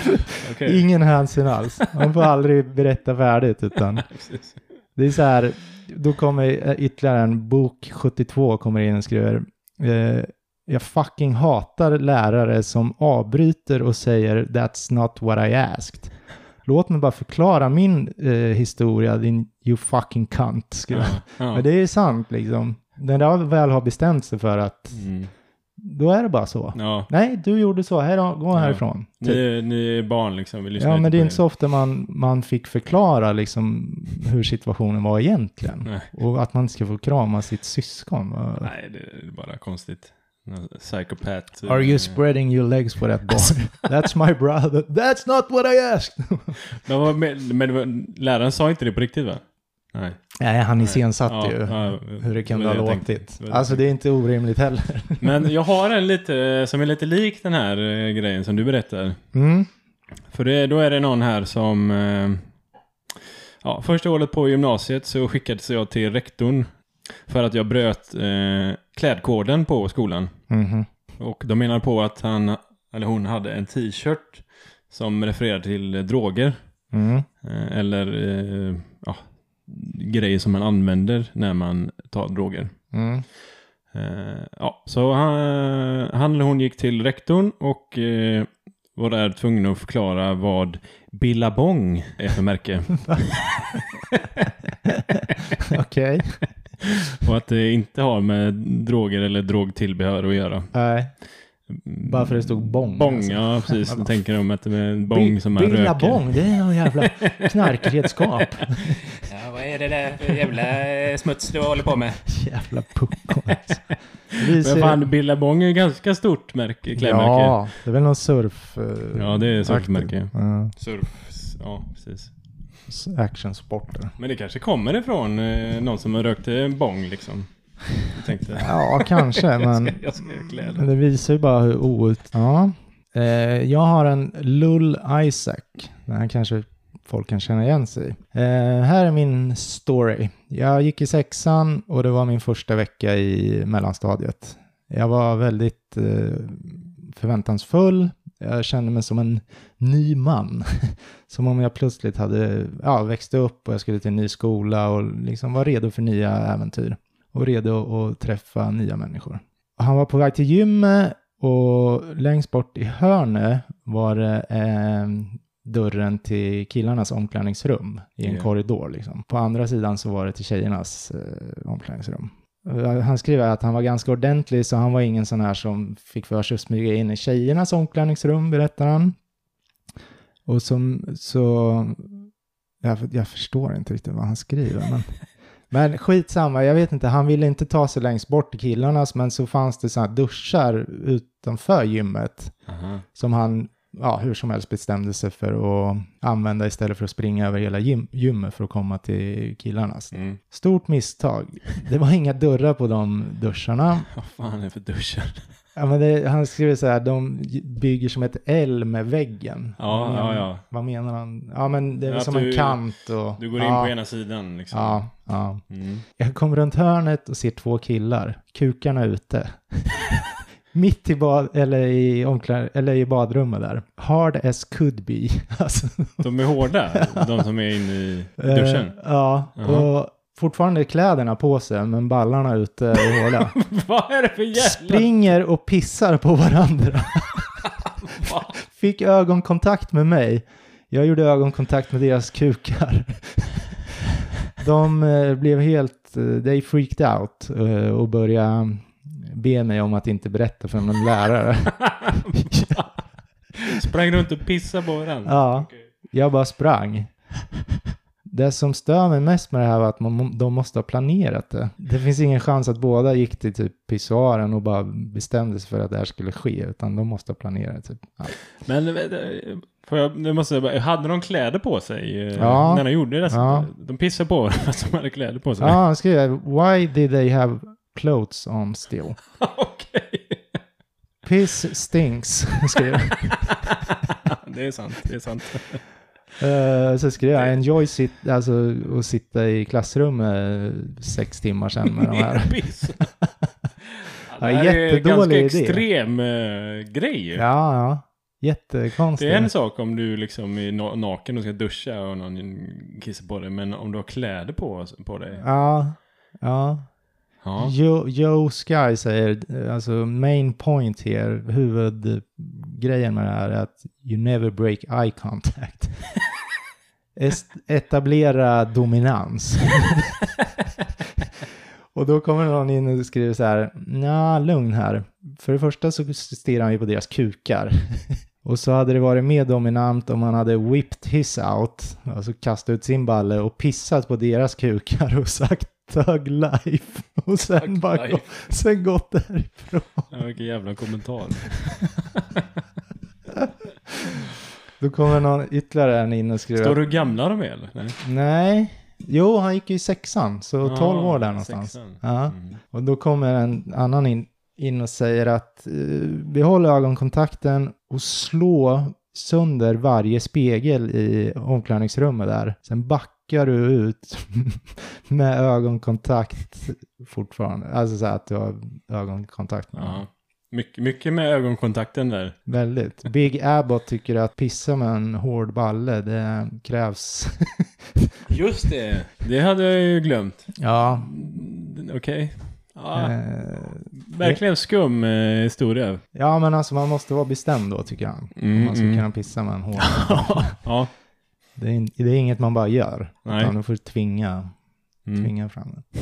Speaker 1: Okej, okej.
Speaker 2: Ingen hänsyn alls. Man får aldrig berätta färdigt utan
Speaker 1: Precis.
Speaker 2: det är så här, då kommer eh, ytterligare en bok 72 kommer in och skriver eh, jag fucking hatar lärare som avbryter och säger that's not what I asked. Låt mig bara förklara min eh, historia, din you fucking cunt. Skriver. han.
Speaker 1: Ja.
Speaker 2: Men det är sant liksom. När jag väl har bestämt sig för att
Speaker 1: Mm.
Speaker 2: då är det bara så.
Speaker 1: ja.
Speaker 2: Nej, du gjorde så, Hej då, gå
Speaker 1: Ja.
Speaker 2: härifrån.
Speaker 1: Ni,
Speaker 2: Typ.
Speaker 1: är- ni är barn liksom. Vi lyssnar
Speaker 2: Ja,
Speaker 1: inte på
Speaker 2: men det är
Speaker 1: er.
Speaker 2: inte så ofta man, man fick förklara liksom hur situationen var egentligen.
Speaker 1: Nej.
Speaker 2: Och att man ska få krama sitt syskon. Och-
Speaker 1: Nej, det är bara konstigt. Någon Psykopat. eh,
Speaker 2: Are you spreading your legs for that boy? That's my brother. That's not what I asked!
Speaker 1: Men, vad men, men det var- läraren sa inte det på riktigt va? Nej.
Speaker 2: Nej, han iscensatte
Speaker 1: Ja,
Speaker 2: ju
Speaker 1: ja,
Speaker 2: hur det kunde
Speaker 1: var
Speaker 2: ha
Speaker 1: jag tänkte.
Speaker 2: låtit.
Speaker 1: Det var det jag
Speaker 2: Alltså det är inte orimligt heller.
Speaker 1: Men jag har en lite, eh, som är lite lik den här eh, grejen som du berättar.
Speaker 2: Mm.
Speaker 1: För det, då är det någon här som... eh, Ja, första året på gymnasiet så skickades jag till rektorn för att jag bröt eh, klädkoden på skolan.
Speaker 2: Mhm.
Speaker 1: Och de menar på att han, eller hon, hade en t-shirt som refererar till eh, droger.
Speaker 2: Mm.
Speaker 1: Eh, eller eh, ja, grejer som man använder när man tar droger.
Speaker 2: Mm.
Speaker 1: Eh, ja, så han, han eller hon gick till rektorn och eh, var där tvungen att förklara vad Billabong är för märke.
Speaker 2: Okej.
Speaker 1: och att det inte har med droger eller drogtillbehör att göra.
Speaker 2: Nej, bara för det stod bong.
Speaker 1: Bong,
Speaker 2: alltså.
Speaker 1: ja precis. Då tänker de att det är en
Speaker 2: Bi-
Speaker 1: bong som man
Speaker 2: Billa
Speaker 1: röker.
Speaker 2: bong, det är någon jävla knarkredskap.
Speaker 1: Ja, vad är det där för jävla smuts du håller på med?
Speaker 2: Jävla puckon alltså. Vi
Speaker 1: Men fan, Billabong är ju ganska stort märke, klädmärke. Ja,
Speaker 2: Ja, det är väl någon surf... eh,
Speaker 1: ja det är surfmärke.
Speaker 2: Ja,
Speaker 1: Surf, ja precis.
Speaker 2: s- actionsporter.
Speaker 1: Men det kanske kommer ifrån eh, någon som har rökt eh, bong liksom. Jag tänkte,
Speaker 2: Ja, kanske,
Speaker 1: jag
Speaker 2: men
Speaker 1: ska, jag ska klä
Speaker 2: men
Speaker 1: den.
Speaker 2: det visar ju bara hur out... Ja. Eh, jag har en Lull Isaac. Den här kanske folk kan känna igen sig i. eh, Här är min story. Jag gick i sexan och det var min första vecka i mellanstadiet. Jag var väldigt eh, förväntansfull. Jag kände mig som en ny man. Som om jag plötsligt hade ja, växt upp och jag skulle till en ny skola och liksom var redo för nya äventyr. Och redo att träffa nya människor. Och han var på väg till gymmet och längst bort i hörnet var det eh, dörren till killarnas omklädningsrum i en
Speaker 1: Ja.
Speaker 2: korridor. Liksom. På andra sidan så var det till tjejernas eh, omklädningsrum. Eh, Han skriver att han var ganska ordentlig så han var ingen sån här som fick för sig att smyga in i tjejernas omklädningsrum, berättar han. Och som så... Jag, jag förstår inte riktigt vad han skriver. Men, men skitsamma, jag vet inte. Han ville inte ta sig längst bort till killarnas, men så fanns det sådana duschar utanför gymmet
Speaker 1: Aha.
Speaker 2: som han ja, hur som helst bestämde sig för att använda istället för att springa över hela gym, gymmet för att komma till killarnas.
Speaker 1: Mm.
Speaker 2: Stort misstag. Det var inga dörrar på de duscharna.
Speaker 1: Vad fan är det för duschar?
Speaker 2: Ja, men det, han skriver så här, de bygger som ett L med väggen.
Speaker 1: Ja,
Speaker 2: Men-
Speaker 1: ja, ja.
Speaker 2: Vad menar han? Ja, men det är väl
Speaker 1: Att
Speaker 2: som
Speaker 1: du-
Speaker 2: en kant och...
Speaker 1: Du går in
Speaker 2: ja,
Speaker 1: på ena sidan liksom.
Speaker 2: Ja, ja.
Speaker 1: Mm.
Speaker 2: Jag kom runt hörnet och ser två killar, kukarna ute. Mitt i, bad, eller i, omklär, eller i badrummet där. Hard as could be. Alltså,
Speaker 1: De är hårda, de som är inne i duschen.
Speaker 2: eh, ja,
Speaker 1: Jaha.
Speaker 2: och fortfarande kläderna på sig, men ballarna ute i håla.
Speaker 1: Vad är det för jävla...
Speaker 2: Springer och pissar på varandra. Fick ögonkontakt med mig. Jag gjorde ögonkontakt med deras kukar. De eh, blev helt, eh, they freaked out eh, och började be mig om att inte berätta för någon lärare.
Speaker 1: Sprang runt och pissade på varandra.
Speaker 2: Ja,
Speaker 1: Okej.
Speaker 2: jag bara sprang. Det som stör mig mest med det här var att man, de måste ha planerat det. Det finns ingen chans att båda gick till typ pissoaren och bara bestämde sig för att det här skulle ske, utan de måste ha planerat typ. Ja.
Speaker 1: Men eh, får jag, nu måste jag bara, hade de kläder på sig eh,
Speaker 2: Ja.
Speaker 1: när de gjorde det?
Speaker 2: Ja.
Speaker 1: De pissade på varandra fast de hade kläder på sig.
Speaker 2: Ja, han skriver Ah, Why did they have clothes on still?
Speaker 1: Okej.
Speaker 2: Piss stinks, skriver han.
Speaker 1: Det är sant, det är sant.
Speaker 2: Eh, så skrev jag enjoy sit, alltså, att sitta i klassrummet eh, sex timmar sen med de här.
Speaker 1: Piss. Ja, det
Speaker 2: Ja,
Speaker 1: här är en
Speaker 2: jättedålig
Speaker 1: ganska
Speaker 2: idé.
Speaker 1: extrem eh, grej.
Speaker 2: Ja, ja. Jättekonstigt.
Speaker 1: Det är en sak om du liksom är na- naken och ska duscha och någon kissar på dig. Men om du har kläder på, på dig.
Speaker 2: Ja. Ja.
Speaker 1: Ja.
Speaker 2: Joe, Joe Sky säger, eh, alltså main point här, huvudgrejen med det här är att you never break eye contact. Est- etablera dominans. och då kommer någon in och skriver så här, nja, lugn här. För det första så stirrar han ju på deras kukar. och så hade det varit mer dominant om han hade whipped his out, alltså kastat ut sin balle och pissat på deras kukar och sagt Thug life och sen
Speaker 1: Thug
Speaker 2: bara
Speaker 1: life.
Speaker 2: gå, sen gått därifrån.
Speaker 1: Ja, vilken jävla kommentar.
Speaker 2: Då kommer någon ytterligare en in och skriver.
Speaker 1: Står du hur gamla de är eller? Nej.
Speaker 2: Nej. Jo, han gick ju i sexan, så
Speaker 1: Ja,
Speaker 2: 12 år där någonstans.
Speaker 1: sexan.
Speaker 2: Ja.
Speaker 1: Mm.
Speaker 2: Och då kommer en annan in, in och säger att eh, behåll ögonkontakten och slå sönder varje spegel i omklädningsrummet där. Sen backar du ut med ögonkontakt fortfarande. Alltså så här att du har ögonkontakt med honom.
Speaker 1: Ja. Mycket- mycket med ögonkontakten där.
Speaker 2: Väldigt. Big Abbott tycker att pissa med en hård balle, det krävs.
Speaker 1: Just det. Det hade jag ju glömt.
Speaker 2: ja.
Speaker 1: Mm, Okej. Ja,
Speaker 2: Eh,
Speaker 1: verkligen skum eh, historia.
Speaker 2: ja, men alltså man måste vara bestämd då tycker han. Om
Speaker 1: Mm,
Speaker 2: man ska
Speaker 1: mm.
Speaker 2: kunna pissa med en hård.
Speaker 1: Ja.
Speaker 2: Det är, in, det är inget man bara gör.
Speaker 1: Nej.
Speaker 2: Utan du får tvinga,
Speaker 1: Mm.
Speaker 2: tvinga fram det.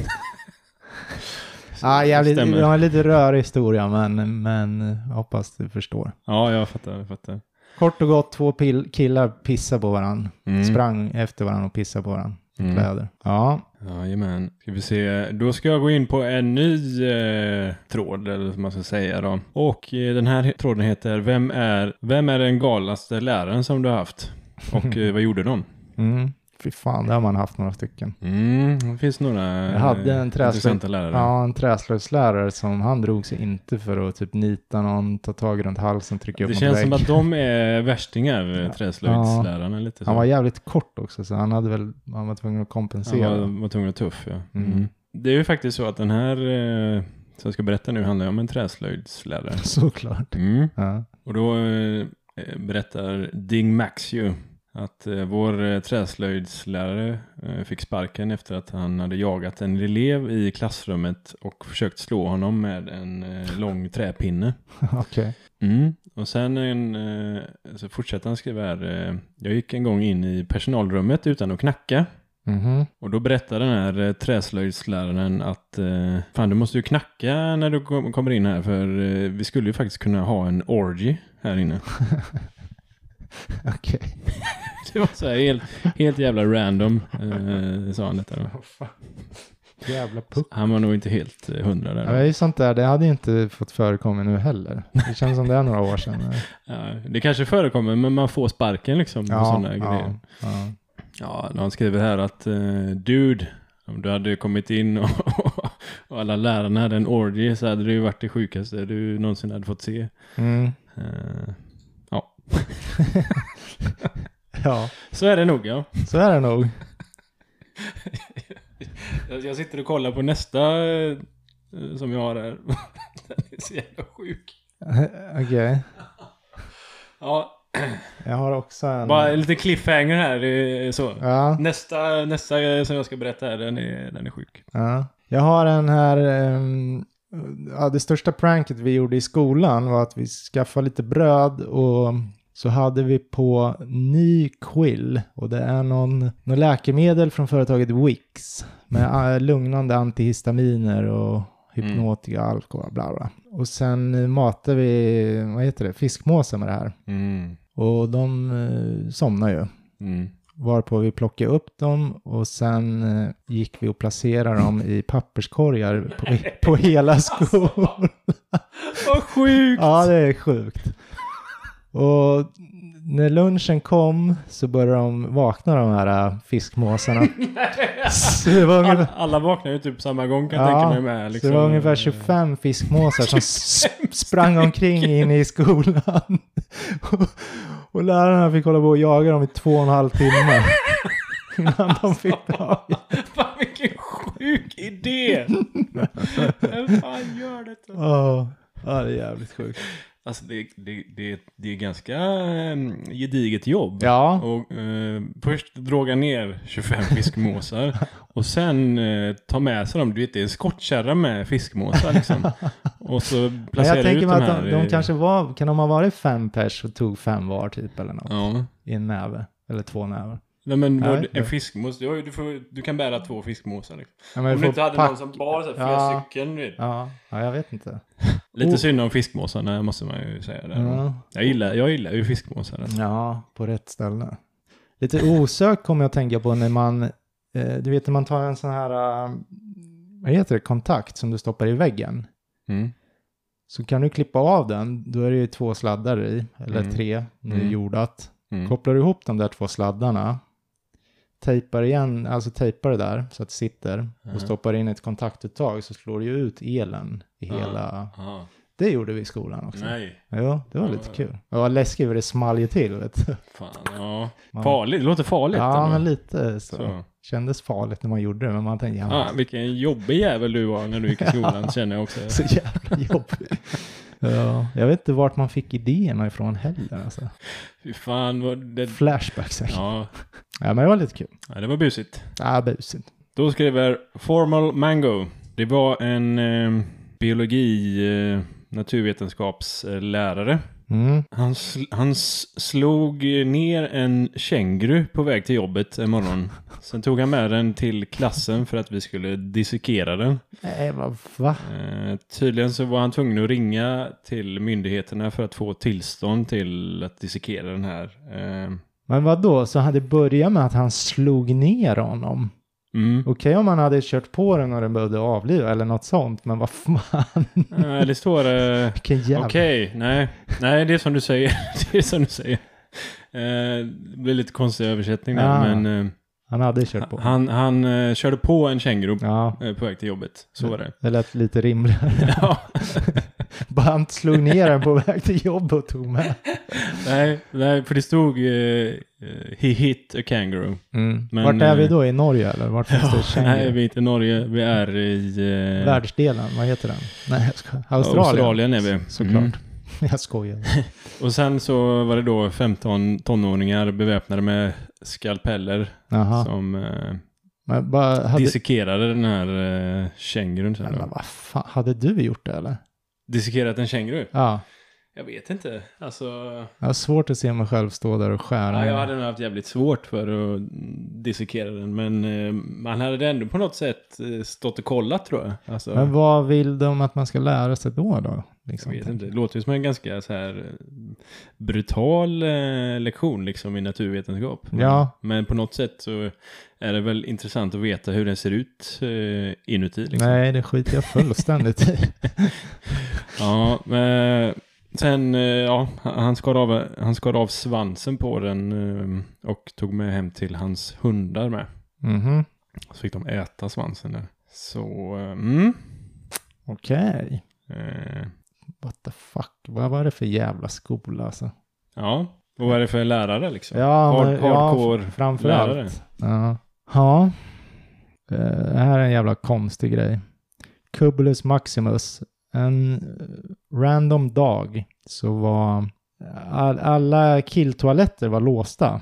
Speaker 2: Ah, jävligt,
Speaker 1: stämmer.
Speaker 2: det var en lite rörig historia, men, men jag hoppas du förstår.
Speaker 1: Ja, jag fattar. Jag fattar.
Speaker 2: Kort och gott, två pil- killar pissar på varandra.
Speaker 1: Mm.
Speaker 2: Sprang efter varandra och pissade på varandra.
Speaker 1: Mm.
Speaker 2: Kläder. Ja,
Speaker 1: Jajamän. Ska vi se. Då ska jag gå in på en ny eh, tråd, eller som man ska säga då. Och eh, den här he- tråden heter Vem är, vem är den galnaste läraren som du har haft? Och eh, vad gjorde de?
Speaker 2: mm. fy fan, där har man haft några stycken.
Speaker 1: Mm, det finns några eh,
Speaker 2: Jag hade en träslöjd.
Speaker 1: intressanta lärare.
Speaker 2: Ja, en träslöjdslärare som han drog sig inte för att typ nita någon, ta tag runt halsen, trycka upp
Speaker 1: Det
Speaker 2: mot
Speaker 1: känns som
Speaker 2: vägg.
Speaker 1: att de är värstingar, eh, träslöjdslärarna lite så.
Speaker 2: Han var jävligt kort också, så han hade väl, han var tvungen att kompensera.
Speaker 1: Han var, var tvungen att tuff, ja.
Speaker 2: Mm.
Speaker 1: Mm. Det är ju faktiskt så att den här, eh, som jag ska berätta nu, handlar ju om en träslöjdslärare.
Speaker 2: Såklart.
Speaker 1: Mm.
Speaker 2: Ja.
Speaker 1: Och då eh, berättar Ding Maxew att eh, vår eh, träslöjdslärare eh, fick sparken efter att han hade jagat en elev i klassrummet och försökt slå honom med en eh, lång träpinne.
Speaker 2: Okej.
Speaker 1: Mm. Och sen en, eh, så fortsätter han skriva här. Eh, jag gick en gång in i personalrummet utan att knacka.
Speaker 2: Mhm.
Speaker 1: Och då berättar den här eh, träslöjdsläraren att eh, fan du måste ju knacka när du kom- kommer in här för eh, vi skulle ju faktiskt kunna ha en orgy här inne.
Speaker 2: Okej.
Speaker 1: Det var så här helt, helt jävla random, eh, sa han detta då.
Speaker 2: Jävla puck.
Speaker 1: Han var nog inte helt eh, hundra
Speaker 2: Ja,
Speaker 1: där.
Speaker 2: men det är ju sånt där, det hade ju inte fått förekomma nu heller. Det känns som det är några år sedan.
Speaker 1: Ja, det kanske förekommer, men man får sparken liksom. och såna här grejer.
Speaker 2: ja, ja.
Speaker 1: Ja, han skriver här att eh, dude, om du hade kommit in och, och alla lärarna hade en orgy så hade det ju varit det sjukaste du någonsin hade fått se.
Speaker 2: Mm.
Speaker 1: Eh,
Speaker 2: ja,
Speaker 1: så är det nog ja.
Speaker 2: så är det nog.
Speaker 1: Jag jag sitter och kollar på nästa eh, som jag har här. Den är så jävla sjuk.
Speaker 2: Okej.
Speaker 1: Ja,
Speaker 2: Jag har också en...
Speaker 1: bara lite cliffhanger här. det är Så.
Speaker 2: Ja,
Speaker 1: Nästa, nästa som jag ska berätta här, den är, den är sjuk.
Speaker 2: ja. Jag har en här... ehm, ja, det största pranket vi gjorde i skolan var att vi skaffade lite bröd och så hade vi på ny quill och det är någon, någon läkemedel från företaget Wix med eh, lugnande antihistaminer och hypnotika, alkohol, bla bla. Och sen eh, matar vi, vad heter det, fiskmåsar med det här.
Speaker 1: Mm.
Speaker 2: Och de eh, somnar ju.
Speaker 1: Mm.
Speaker 2: Varpå vi plockade upp dem och sen eh, gick vi och placerade dem i papperskorgar på, på hela skolan.
Speaker 1: Vad sjukt!
Speaker 2: ja, det är sjukt. Och när lunchen kom så började de vakna de här eh, fiskmåsarna. så det var
Speaker 1: Alla,
Speaker 2: ungefär,
Speaker 1: alla vaknar ju typ samma gång kan jag
Speaker 2: Ja,
Speaker 1: tänka mig med. Liksom.
Speaker 2: så det var ungefär 25 fiskmåsar som s- sprang omkring inne i skolan. och, och lärarna fick hålla på och jaga dem i två och en halv timme. Innan de fick tag i
Speaker 1: Fan vilken sjuk idé! Vem fan gör detta?
Speaker 2: Ja, ja, det är jävligt sjukt.
Speaker 1: Alltså det, det, det, det är ganska eh, gediget jobb.
Speaker 2: Ja,
Speaker 1: Och, eh, först droga ner 25 fiskmåsar och sen eh, ta med sig dem. Du vet, det är en skottkärra med fiskmåsar liksom. Och så
Speaker 2: men
Speaker 1: placera
Speaker 2: jag tänker
Speaker 1: ut
Speaker 2: mig
Speaker 1: dem här. eh,
Speaker 2: att de, de
Speaker 1: i-
Speaker 2: kanske var, kan de ha varit fem pers och tog fem var typ eller något?
Speaker 1: Ja.
Speaker 2: I en näve, eller två näver.
Speaker 1: Nej, men
Speaker 2: Nej,
Speaker 1: vad-
Speaker 2: det-
Speaker 1: en fiskmås, du, har ju- du, får, du kan bära två fiskmåsar liksom.
Speaker 2: Ja, men
Speaker 1: Om
Speaker 2: vi
Speaker 1: du
Speaker 2: får
Speaker 1: inte hade
Speaker 2: pack-
Speaker 1: någon som bar så här,
Speaker 2: Ja.
Speaker 1: fyra stycken. du vet.
Speaker 2: Ja, ja, jag vet inte.
Speaker 1: Lite
Speaker 2: Oh.
Speaker 1: synd om fiskmåsarna måste man ju säga. Där.
Speaker 2: Ja.
Speaker 1: Jag, gillar, jag gillar ju fiskmåsar. Alltså.
Speaker 2: Ja, på rätt ställe. Lite osökt kommer jag att tänka på när man, eh, du vet när man tar en sån här, eh, vad heter det, kontakt som du stoppar i väggen.
Speaker 1: Mm.
Speaker 2: Så kan du klippa av den, då är det ju två sladdar i, eller
Speaker 1: Mm.
Speaker 2: tre, nu
Speaker 1: Mm.
Speaker 2: jordat.
Speaker 1: Mm.
Speaker 2: Kopplar du ihop de där två sladdarna, tejpar igen, alltså tejpar det där så att det sitter
Speaker 1: Mhm.
Speaker 2: och stoppar in ett kontaktuttag så slår du ju ut elen i
Speaker 1: Ja.
Speaker 2: hela,
Speaker 1: Aha.
Speaker 2: det gjorde vi i skolan också.
Speaker 1: Nej,
Speaker 2: Jo, det var
Speaker 1: Ja,
Speaker 2: lite
Speaker 1: ja.
Speaker 2: kul. Det var läskigt för det small ju till vet du.
Speaker 1: fan. Ja.
Speaker 2: Man-
Speaker 1: Farligt, det låter farligt.
Speaker 2: Ja,
Speaker 1: ändå.
Speaker 2: men lite så.
Speaker 1: Så.
Speaker 2: Kändes farligt när man gjorde det, men man tänkte, ja,
Speaker 1: Ah, vilken jobbig jävel du var när du gick i skolan känner jag också.
Speaker 2: så jävla jobbigt. ja, jag vet inte vart man fick idéerna ifrån heller. Alltså.
Speaker 1: Fy fan vad det...
Speaker 2: Flashbacks säkert. Ja.
Speaker 1: Ja,
Speaker 2: men det var lite kul.
Speaker 1: ja, det var busigt.
Speaker 2: Ja, busigt.
Speaker 1: Då skriver Formal Mango. Det var en eh, biologi, eh, naturvetenskapslärare.
Speaker 2: Mm.
Speaker 1: Han, sl- han s- slog ner en känguru på väg till jobbet en morgon. Sen tog han med den till klassen för att vi skulle dissekera den.
Speaker 2: Nej, vad va?
Speaker 1: Eh, tydligen så var han tvungen att ringa till myndigheterna för att få tillstånd till att dissekera den här. Eh,
Speaker 2: Men vad då? så hade det börjat med att han slog ner honom?
Speaker 1: mm.
Speaker 2: Okej om han hade kört på den och den behövde avliva eller något sånt, men vad fan?
Speaker 1: Eh, det står... Eh,
Speaker 2: Vilken jävla...
Speaker 1: Okej, nej. Nej, det är som du säger. det är som du säger. Eh, det blir lite konstig översättning där,
Speaker 2: Ah.
Speaker 1: men eh,
Speaker 2: Han hade kört på.
Speaker 1: han, han eh, körde på en känguru
Speaker 2: Ja,
Speaker 1: eh, på väg till jobbet. Så var det.
Speaker 2: det lät lite rimligare.
Speaker 1: ja,
Speaker 2: Bara han slog ner den på väg till jobbet och tog med.
Speaker 1: nej, nej, för det stod eh, eh, He hit a kangaroo.
Speaker 2: Mm.
Speaker 1: Men,
Speaker 2: Vart är vi
Speaker 1: eh,
Speaker 2: då? I Norge eller? Vart finns det känguru?
Speaker 1: Nej, vi är inte i Norge. Vi är i... eh,
Speaker 2: Världsdelen, vad heter den? Nej, jag skojar. Australien.
Speaker 1: Australien är vi.
Speaker 2: S- Såklart.
Speaker 1: Mm.
Speaker 2: Jag skojar.
Speaker 1: Och sen så var det då 15 tonåringar beväpnade med skalpeller
Speaker 2: Jaha.
Speaker 1: som eh,
Speaker 2: Men bara, hade,
Speaker 1: dissekerade den här eh, kängurun. sen
Speaker 2: men,
Speaker 1: då.
Speaker 2: vad fan, hade du gjort det eller?
Speaker 1: Dissekerat en känguru?
Speaker 2: Ja.
Speaker 1: Jag vet inte. Alltså,
Speaker 2: Jag har svårt att se mig själv stå där och skära.
Speaker 1: ja, jag hade nog haft jävligt svårt för att dissekera den. Men eh, man hade ändå på något sätt eh, stått och kollat tror jag. Alltså,
Speaker 2: Men vad vill de att man ska lära sig då? då?
Speaker 1: Jag
Speaker 2: Liksom.
Speaker 1: vet inte, det låter ju som en ganska så här eh, brutal eh, lektion liksom i naturvetenskap.
Speaker 2: Ja.
Speaker 1: Men på något sätt så är det väl intressant att veta hur den ser ut eh, inuti. Liksom.
Speaker 2: Nej, det skiter jag fullständigt i.
Speaker 1: Ja, men sen, eh, ja, han skar, av, han skar av svansen på den eh, och tog med hem till hans hundar med.
Speaker 2: Mhm.
Speaker 1: Så fick de äta svansen där. Så, eh, mm.
Speaker 2: Okej.
Speaker 1: Eh,
Speaker 2: What the fuck? Vad var det för jävla skola alltså?
Speaker 1: ja, och vad är det för lärare liksom?
Speaker 2: Ja,
Speaker 1: Hard,
Speaker 2: men- ja,
Speaker 1: hardcore
Speaker 2: Framförallt.
Speaker 1: lärare.
Speaker 2: Ja. ja. Eh, Det här är en jävla konstig grej. Cubulus Maximus. En eh, random dag så var eh, all, alla killtoaletter var låsta.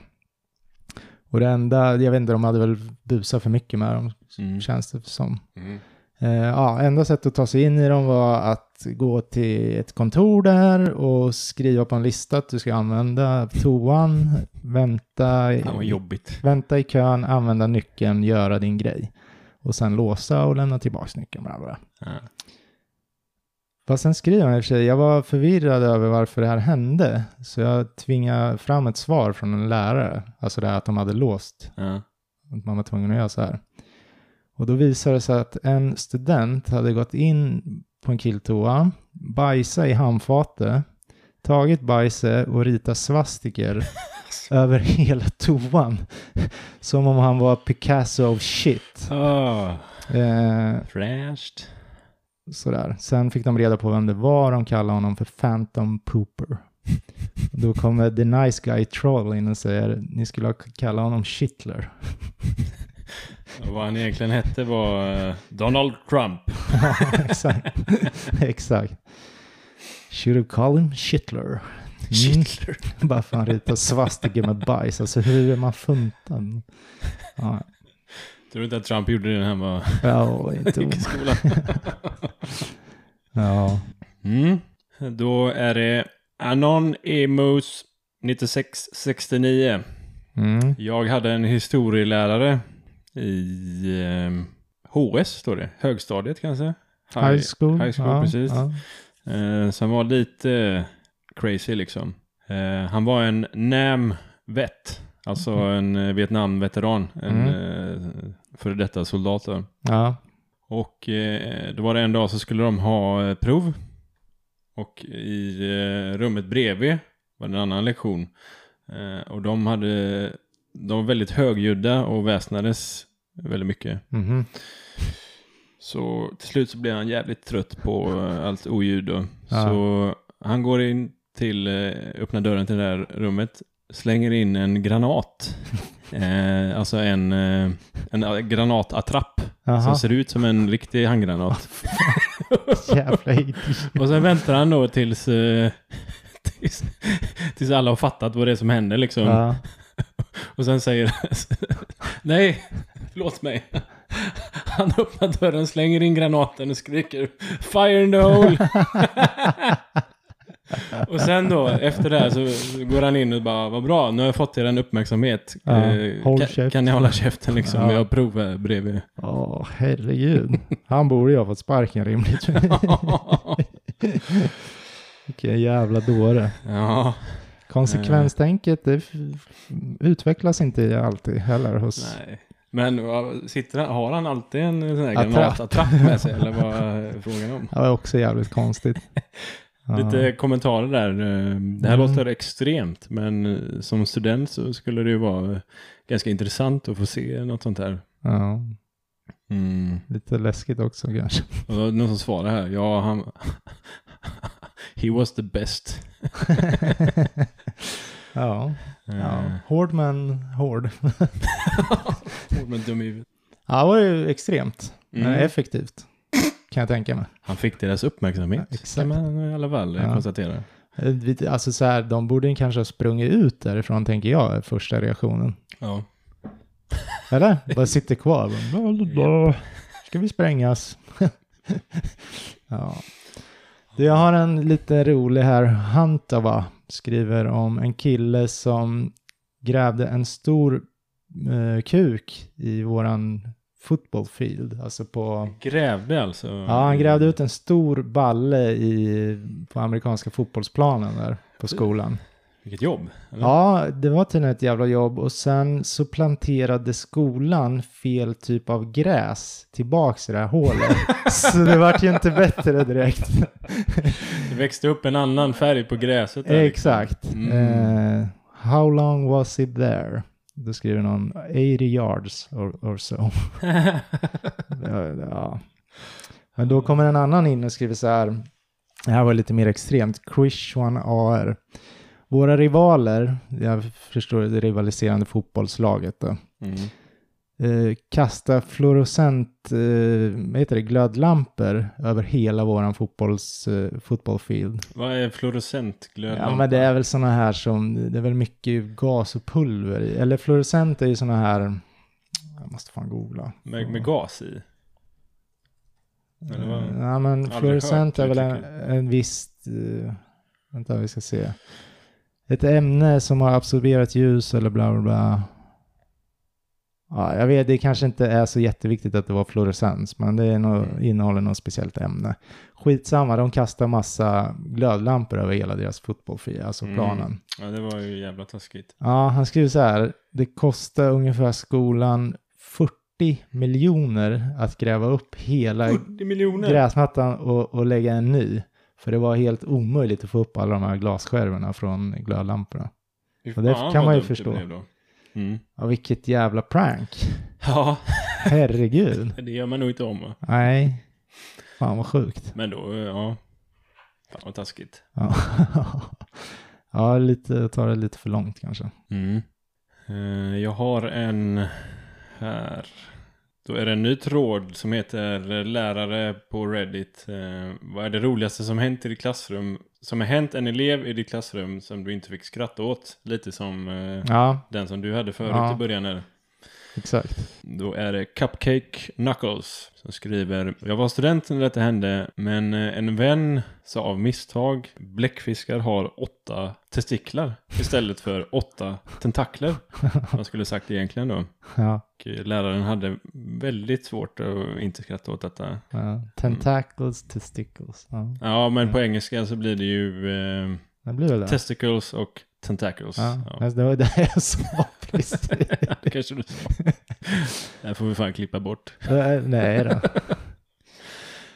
Speaker 2: Och det enda, jag vet inte, de hade väl busat för mycket med dem,
Speaker 1: Mm.
Speaker 2: känns det som.
Speaker 1: Mm.
Speaker 2: Eh, ja, enda sättet att ta sig in i dem var att gå till ett kontor där och skriva på en lista att du ska använda toan, vänta, i-
Speaker 1: Fan vad jobbigt.
Speaker 2: vänta i kön, använda nyckeln, göra din grej. Och sen låsa och lämna tillbaka nyckeln. Bla bla.
Speaker 1: Ja.
Speaker 2: Fast sen skriver han i och för sig, jag var förvirrad över varför det här hände, så jag tvingade fram ett svar från en lärare, alltså det här att de hade låst
Speaker 1: Ja.
Speaker 2: att man var tvungen att göra så här. Och då visade det sig att en student hade gått in på en killtoa, bajsat i handfatet, tagit bajset och ritat svastiker över hela toan. Som om han var Picasso of shit.
Speaker 1: Ah,
Speaker 2: Eh,
Speaker 1: fräscht.
Speaker 2: sådär. Sen fick de reda på vem det var, de kallade honom för Phantom Pooper. Då kommer The Nice Guy Troll in och säger, ni skulle ha kallat honom Shittler.
Speaker 1: Och Vad han egentligen hette var eh, Donald Trump.
Speaker 2: exakt. exakt. Should have called him Shittler. Mm.
Speaker 1: Shittler.
Speaker 2: Bara för att han ritar svastika med bajs. Alltså hur är man funtad? Ja,
Speaker 1: Tror du inte att Trump gjorde det när han var
Speaker 2: ja inte
Speaker 1: i
Speaker 2: o-
Speaker 1: skolan?
Speaker 2: Ja.
Speaker 1: Mm. Då är det Anon Emus 9669.
Speaker 2: Mm.
Speaker 1: Jag hade en historielärare i eh, HS, står det. Högstadiet kanske?
Speaker 2: High school.
Speaker 1: high school,
Speaker 2: ja,
Speaker 1: precis.
Speaker 2: Ja.
Speaker 1: Eh, som var lite eh, crazy liksom. Eh, han var en NAM-vet, alltså en eh, Vietnam-veteran, en eh, före detta soldat. då.
Speaker 2: ja.
Speaker 1: Och eh, då var det en dag så skulle de ha eh, prov. Och i eh, rummet bredvid var det en annan lektion. Eh, och de, hade, de var väldigt högljudda och väsnades väldigt mycket.
Speaker 2: Mhm.
Speaker 1: Så till slut så blev han jävligt trött på eh, allt oljud. Då.
Speaker 2: Ja.
Speaker 1: Så han går in till, eh, öppnar dörren till det där rummet, slänger in en granat. Eh, alltså en, eh, en eh, granatattrapp
Speaker 2: Jaha.
Speaker 1: som ser ut som en riktig handgranat.
Speaker 2: Jävla idiot.
Speaker 1: Och sen väntar han då tills, eh, tills, tills alla har fattat vad det är som händer liksom.
Speaker 2: Ja.
Speaker 1: Och sen säger han, nej, förlåt mig. Han öppnar dörren, slänger in granaten och skriker Fire in the hole! och sen då, efter det här så går han in och bara, vad bra, nu har jag fått er en uppmärksamhet.
Speaker 2: Ja,
Speaker 1: Eh,
Speaker 2: håll
Speaker 1: kan,
Speaker 2: käft."
Speaker 1: kan ni hålla käften liksom?
Speaker 2: Ja.
Speaker 1: Vi har prov här bredvid.
Speaker 2: Åh, herregud. Han borde ju ha fått sparken rimligtvis. Vilken jävla dåre.
Speaker 1: ja,
Speaker 2: Konsekvenstänket det f- utvecklas inte alltid heller hos...
Speaker 1: nej. Men vad- sitter han, har han alltid en sån här
Speaker 2: Attrapp.
Speaker 1: granatattrapp med sig? Eller vad är frågan om?
Speaker 2: Det var också jävligt konstigt. Ja.
Speaker 1: Lite kommentarer där. Eh, Det här
Speaker 2: Mm.
Speaker 1: låter extremt, men eh, som student så skulle det ju vara eh, ganska intressant att få se något sånt här.
Speaker 2: Ja,
Speaker 1: Mm.
Speaker 2: lite läskigt också kanske.
Speaker 1: Och då är det någon som svarar här, ja han... He was the best.
Speaker 2: ja, ja.
Speaker 1: Eh,
Speaker 2: hård men hård.
Speaker 1: ord men dum i huvudet.
Speaker 2: Ja, det var ju extremt, men
Speaker 1: Mm.
Speaker 2: effektivt. Kan jag tänka mig.
Speaker 1: Han fick deras uppmärksamhet.
Speaker 2: Ja,
Speaker 1: kan
Speaker 2: exakt.
Speaker 1: man i alla fall eh,
Speaker 2: Ja.
Speaker 1: konstatera.
Speaker 2: Eh, vi- Alltså så här, de borde ju kanske ha sprungit ut därifrån tänker jag, är första reaktionen.
Speaker 1: Ja.
Speaker 2: Eller? Bara sitter kvar. Bla, bla, bla. Ska vi sprängas? ja. Du, jag har en lite rolig här. Hantava skriver om en kille som grävde en stor eh, kuk i våran football field. Alltså på...
Speaker 1: Grävde alltså.
Speaker 2: Ja, han grävde ut en stor balle i, på amerikanska fotbollsplanen där på skolan.
Speaker 1: Vilket jobb. eller?
Speaker 2: Ja, det var tydligen ett jävla jobb och sen så planterade skolan fel typ av gräs tillbaks i det här hålet. så det vart ju inte bättre direkt.
Speaker 1: Det växte upp en annan färg på gräset. där, liksom.
Speaker 2: Exakt.
Speaker 1: Mm.
Speaker 2: Eh, how long was it there? Då skriver någon 80 yards or, or so.
Speaker 1: Mm.
Speaker 2: Ja, ja. Men då kommer en annan in och skriver så här. Det här var lite mer extremt. Christian AR. Våra rivaler, jag förstår det rivaliserande fotbollslaget då,
Speaker 1: Mm.
Speaker 2: eh, kastar fluorescent, eh, vad heter det, glödlampor över hela våran fotbolls, eh, fotbollfield.
Speaker 1: Vad är fluorescentglödlampa?
Speaker 2: Ja men det är väl sådana här som, det är väl mycket gas och pulver i. Eller fluorescent är ju sådana här, jag måste fan googla.
Speaker 1: Med, med gas i? Eller vad?
Speaker 2: Ja, men
Speaker 1: Aldrig
Speaker 2: fluorescent
Speaker 1: hört
Speaker 2: är väl en,
Speaker 1: uttrycket.
Speaker 2: en viss... eh, vänta, vi ska se. Ett ämne som har absorberat ljus eller bla bla bla. Ja, jag vet, det kanske inte är så jätteviktigt att det var fluorescens, men det är nog,
Speaker 1: Mm.
Speaker 2: innehåller något speciellt ämne. Skitsamma, de kastar massa glödlampor över hela deras fotbollfria, alltså
Speaker 1: Mm.
Speaker 2: planen.
Speaker 1: Ja, det var ju jävla taskigt.
Speaker 2: Ja, han skriver så här. Det kostar ungefär skolan 40 miljoner att gräva upp hela
Speaker 1: 40 miljoner!
Speaker 2: gräsmattan och, och lägga en ny. För det var helt omöjligt att få upp alla de här glasskärvorna från glödlamporna.
Speaker 1: Fy
Speaker 2: och det
Speaker 1: fan, vad
Speaker 2: kan man ju
Speaker 1: dumt det
Speaker 2: förstå.
Speaker 1: blev då. Mm.
Speaker 2: Ja, vilket jävla prank.
Speaker 1: Ja,
Speaker 2: Herregud.
Speaker 1: det gör man nog inte om. va?
Speaker 2: Nej. Fan vad sjukt.
Speaker 1: Men då, ja. Fan vad taskigt.
Speaker 2: Ja, ja lite, tar det lite för Mm. långt kanske.
Speaker 1: Mm. Eh, Jag har en här. Då är det en ny tråd som heter eh, lärare på Reddit. Eh, vad är det roligaste som hänt i ditt klassrum? Som har hänt en elev i ditt klassrum som du inte fick skratta åt. Lite som eh,
Speaker 2: Ja,
Speaker 1: den som du hade förut
Speaker 2: Ja.
Speaker 1: i början. Här.
Speaker 2: exakt.
Speaker 1: Då är det Cupcake Knuckles som skriver Jag var student när detta hände men eh, en vän sa av misstag Bläckfiskar har åtta testiklar istället för åtta tentakler. Man skulle sagt egentligen då.
Speaker 2: Ja,
Speaker 1: Och eh, läraren hade väldigt svårt att inte skratta åt detta.
Speaker 2: ja. Tentacles, testicles. Ja.
Speaker 1: Ja men
Speaker 2: Mm.
Speaker 1: på engelska så blir det ju eh,
Speaker 2: Det blir väl det.
Speaker 1: testicles och tentacles.
Speaker 2: ja.
Speaker 1: Ja.
Speaker 2: Men Det var det jag sa precis.
Speaker 1: Det kanske du sa. Det här får vi fan klippa bort.
Speaker 2: Eh, Nej då.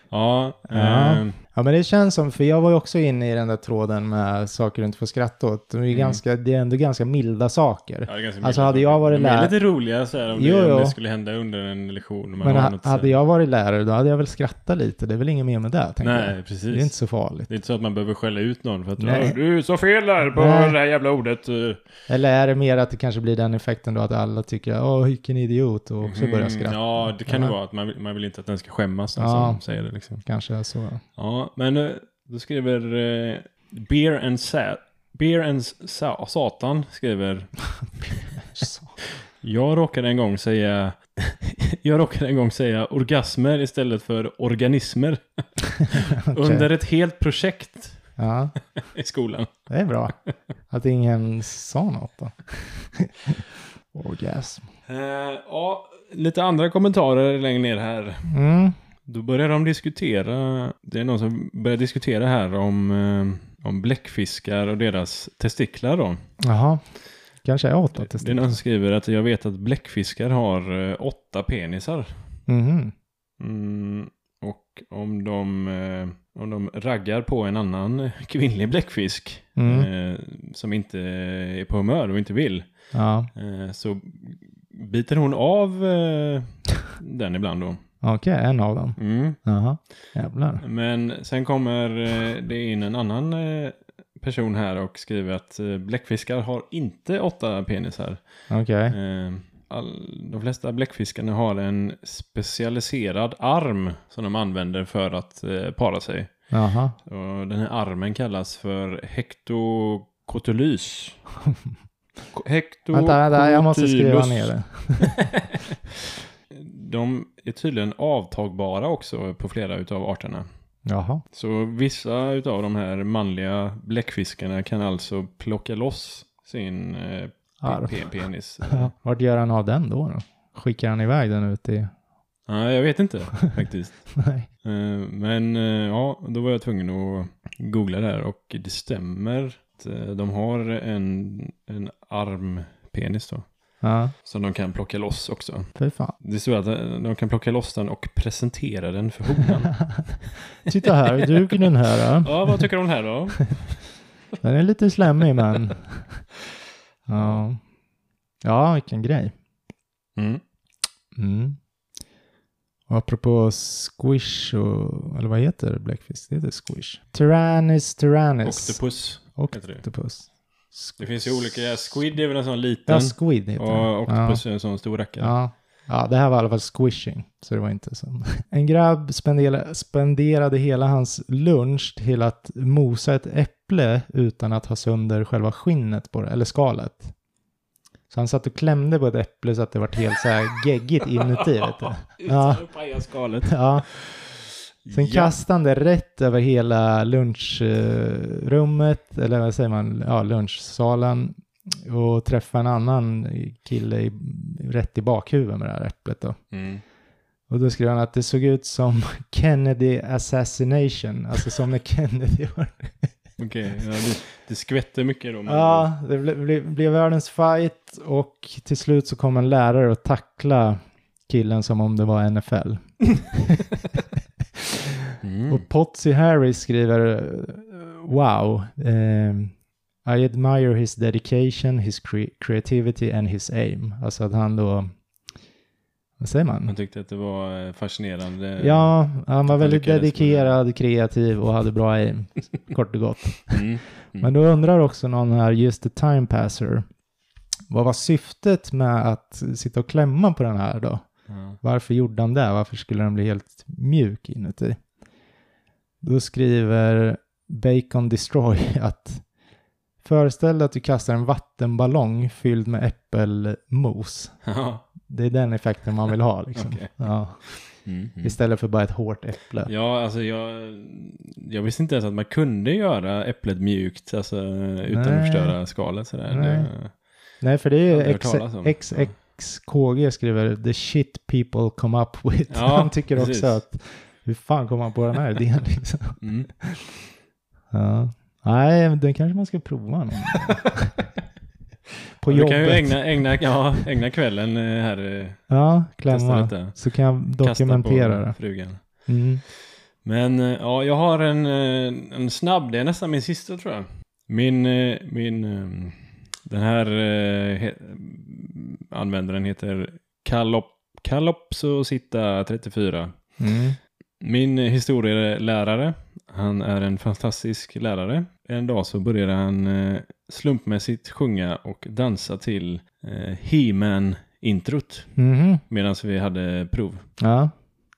Speaker 1: Ja,
Speaker 2: Ja.
Speaker 1: eh,
Speaker 2: Ja men det känns som, för jag var ju också inne i den där tråden med saker du inte får skratta åt. Det är, ju
Speaker 1: Mm.
Speaker 2: ganska, det är ändå ganska milda saker.
Speaker 1: Ja, det är ganska
Speaker 2: Alltså,
Speaker 1: milda
Speaker 2: hade
Speaker 1: saker.
Speaker 2: jag varit
Speaker 1: De är
Speaker 2: lär-
Speaker 1: lite roliga så här, om,
Speaker 2: Jo,
Speaker 1: det, om
Speaker 2: jo.
Speaker 1: det skulle hända under en lektion. om Man
Speaker 2: men
Speaker 1: har
Speaker 2: ha-
Speaker 1: något, så här-
Speaker 2: hade jag varit lärare då hade jag väl skrattat lite. Det är väl inget mer med det, tänker
Speaker 1: Nej,
Speaker 2: jag.
Speaker 1: precis.
Speaker 2: Det är inte så farligt.
Speaker 1: så att man behöver skälla ut någon för att
Speaker 2: Nej.
Speaker 1: "Ja, du sa fel där på
Speaker 2: Nej.
Speaker 1: det här jävla ordet. eh."
Speaker 2: Eller är det mer att det kanske blir den effekten då att alla tycker åh vilken idiot och också börjar
Speaker 1: Mm,
Speaker 2: skratta.
Speaker 1: Ja, det kan det
Speaker 2: Ja.
Speaker 1: vara. Att man, vill- man vill inte att den ska skämmas den
Speaker 2: Ja.
Speaker 1: som säger det. Liksom.
Speaker 2: Kanske så.
Speaker 1: Ja, men eh, då skriver eh, Beer and Sa- Beer and Sa- Satan skriver
Speaker 2: så.
Speaker 1: Jag råkade en gång säga Jag råkade en gång säga orgasmer istället för organismer under ett helt projekt
Speaker 2: Ja,
Speaker 1: i skolan.
Speaker 2: det är bra. Att ingen sa något då. Orgasm.
Speaker 1: Eh, ja, lite andra kommentarer längre ner här.
Speaker 2: Mm.
Speaker 1: Då börjar de diskutera. Det är någon som börjar diskutera här om, eh, om bläckfiskar och deras testiklar då.
Speaker 2: Jaha. Kanske är åt att
Speaker 1: Det är någon som skriver att jag vet att bläckfiskar har eh, åtta penisar.
Speaker 2: Mhm.
Speaker 1: Mm, och om de, eh, om de raggar på en annan kvinnlig bläckfisk
Speaker 2: Mm.
Speaker 1: eh, som inte är på humör och inte vill
Speaker 2: Ja,
Speaker 1: eh, så biter hon av eh, den ibland då.
Speaker 2: okej, en av dem.
Speaker 1: Mm.
Speaker 2: Jaha, jävlar.
Speaker 1: Men sen kommer eh, det in en annan eh, person här och skriver att eh, bläckfiskar har inte åtta penisar.
Speaker 2: Okej.
Speaker 1: Eh, All, de flesta bläckfiskarna har en specialiserad arm som de använder för att eh, para sig.
Speaker 2: Jaha.
Speaker 1: Och den här armen kallas för hektokotylys. Ko-
Speaker 2: Vänta, vänta, jag måste skriva ner det.
Speaker 1: De är tydligen avtagbara också på flera utav arterna.
Speaker 2: Jaha.
Speaker 1: Så vissa utav de här manliga bläckfiskarna kan alltså plocka loss sin eh,
Speaker 2: Arm.
Speaker 1: pe- penis.
Speaker 2: Ja. Vart gör han av den då? då? Skickar han iväg den ut i...
Speaker 1: Nej, jag vet inte faktiskt.
Speaker 2: Nej.
Speaker 1: Eh, Men eh, ja, då var jag tvungen att googla det här och det stämmer. att, eh, De har en, en armpenis då.
Speaker 2: Ja,
Speaker 1: Som de kan plocka loss också.
Speaker 2: fy fan.
Speaker 1: Det står att eh, de kan plocka loss den och presentera den för honan.
Speaker 2: Titta här, du kan den här. då.
Speaker 1: ja, vad tycker du om den här då?
Speaker 2: Den är lite slemmig men... Ja. Ja, vilken grej.
Speaker 1: Mm.
Speaker 2: Mm. Och apropå squish och... Eller vad heter bläckfisk? Det heter squish. Tyrannis tyrannis.
Speaker 1: Octopus heter det.
Speaker 2: Octopus.
Speaker 1: Det finns ju olika, squid är väl en sån liten.
Speaker 2: Ja, squid heter det.
Speaker 1: Mm. Och octopus är en sån stor rackare.
Speaker 2: Ja. ja, det här var i alla fall squishing. Så det var inte så. En grabb spendela, spenderade hela hans lunch till att mosa ett äpple utan att ha sönder själva skinnet på det, eller skalet. Så han satt och klämde på ett äpple så att det var helt så här geggigt inuti. Vet du. Ja.
Speaker 1: Utan att paja skalet.
Speaker 2: Ja, sen
Speaker 1: Ja.
Speaker 2: kastade han det rätt över hela lunchrummet, eller vad säger man, ja, lunchsalen. Och träffade en annan kille i, rätt i bakhuvudet med det här äpplet då.
Speaker 1: Mm.
Speaker 2: Och då skrev han att det såg ut som Kennedy assassination, alltså som när Kennedy var...
Speaker 1: Okej, ja, det, det skvätter mycket då. men-
Speaker 2: Ja, det blev ble, blev världens fight och till slut så kom en lärare och tackla killen som om det var NFL.
Speaker 1: Mm.
Speaker 2: Och Potsy Harris skriver eh, Wow. ehm, I admire his dedication, his cre- creativity and his aim. Alltså att han då, vad säger
Speaker 1: Han
Speaker 2: man?
Speaker 1: tyckte att det var eh, fascinerande.
Speaker 2: Mm. Ja, han var väldigt
Speaker 1: lyckades med det.
Speaker 2: dedikerad, kreativ och hade bra aim. Kort och gott.
Speaker 1: Mm. Mm.
Speaker 2: Men då undrar också någon här, just the time passer. Vad var syftet med att sitta och klämma på den här då?
Speaker 1: Ja.
Speaker 2: Varför gjorde han det? Varför skulle den bli helt mjuk inuti? Då skriver Bacon Destroy att föreställ dig att du kastar en vattenballong fylld med äppelmos.
Speaker 1: Ja.
Speaker 2: Det är den effekten man vill ha liksom.
Speaker 1: Okej.
Speaker 2: ja.
Speaker 1: Mm, mm.
Speaker 2: Istället för bara ett hårt äpple.
Speaker 1: Ja, alltså jag, jag visste inte ens att man kunde göra äpplet mjukt alltså, utan
Speaker 2: Nej.
Speaker 1: att förstöra skalet sådär.
Speaker 2: Nej.
Speaker 1: Det-
Speaker 2: Nej, för det är
Speaker 1: Aldrig hört
Speaker 2: X-
Speaker 1: talas om.
Speaker 2: XXKG skriver the shit people come up with.
Speaker 1: Ja,
Speaker 2: Han tycker också
Speaker 1: precis.
Speaker 2: att hur fan kom han på den här idén liksom?
Speaker 1: Mm.
Speaker 2: Ja. Nej, men den kanske man ska prova någon gång. På
Speaker 1: du
Speaker 2: jobbet.
Speaker 1: kan ju ägna, ägna, ja, ägna kvällen eh, här eh,
Speaker 2: ja,
Speaker 1: testa
Speaker 2: klämma.
Speaker 1: lite.
Speaker 2: Så kan jag
Speaker 1: Kasta
Speaker 2: dokumentera
Speaker 1: på
Speaker 2: det.
Speaker 1: frugan.
Speaker 2: Mm.
Speaker 1: Men eh, ja, jag har en, eh, en snabb, det är nästan min sista tror jag. Min, eh, min, eh, den här eh, he, användaren heter Kalop, Kalopsosita34.
Speaker 2: Mm.
Speaker 1: Min historielärare, han är en fantastisk lärare. En dag så började han eh, slumpmässigt sjunga och dansa till eh, He-Man-introt
Speaker 2: Mhm.
Speaker 1: medan vi hade prov.
Speaker 2: Ja,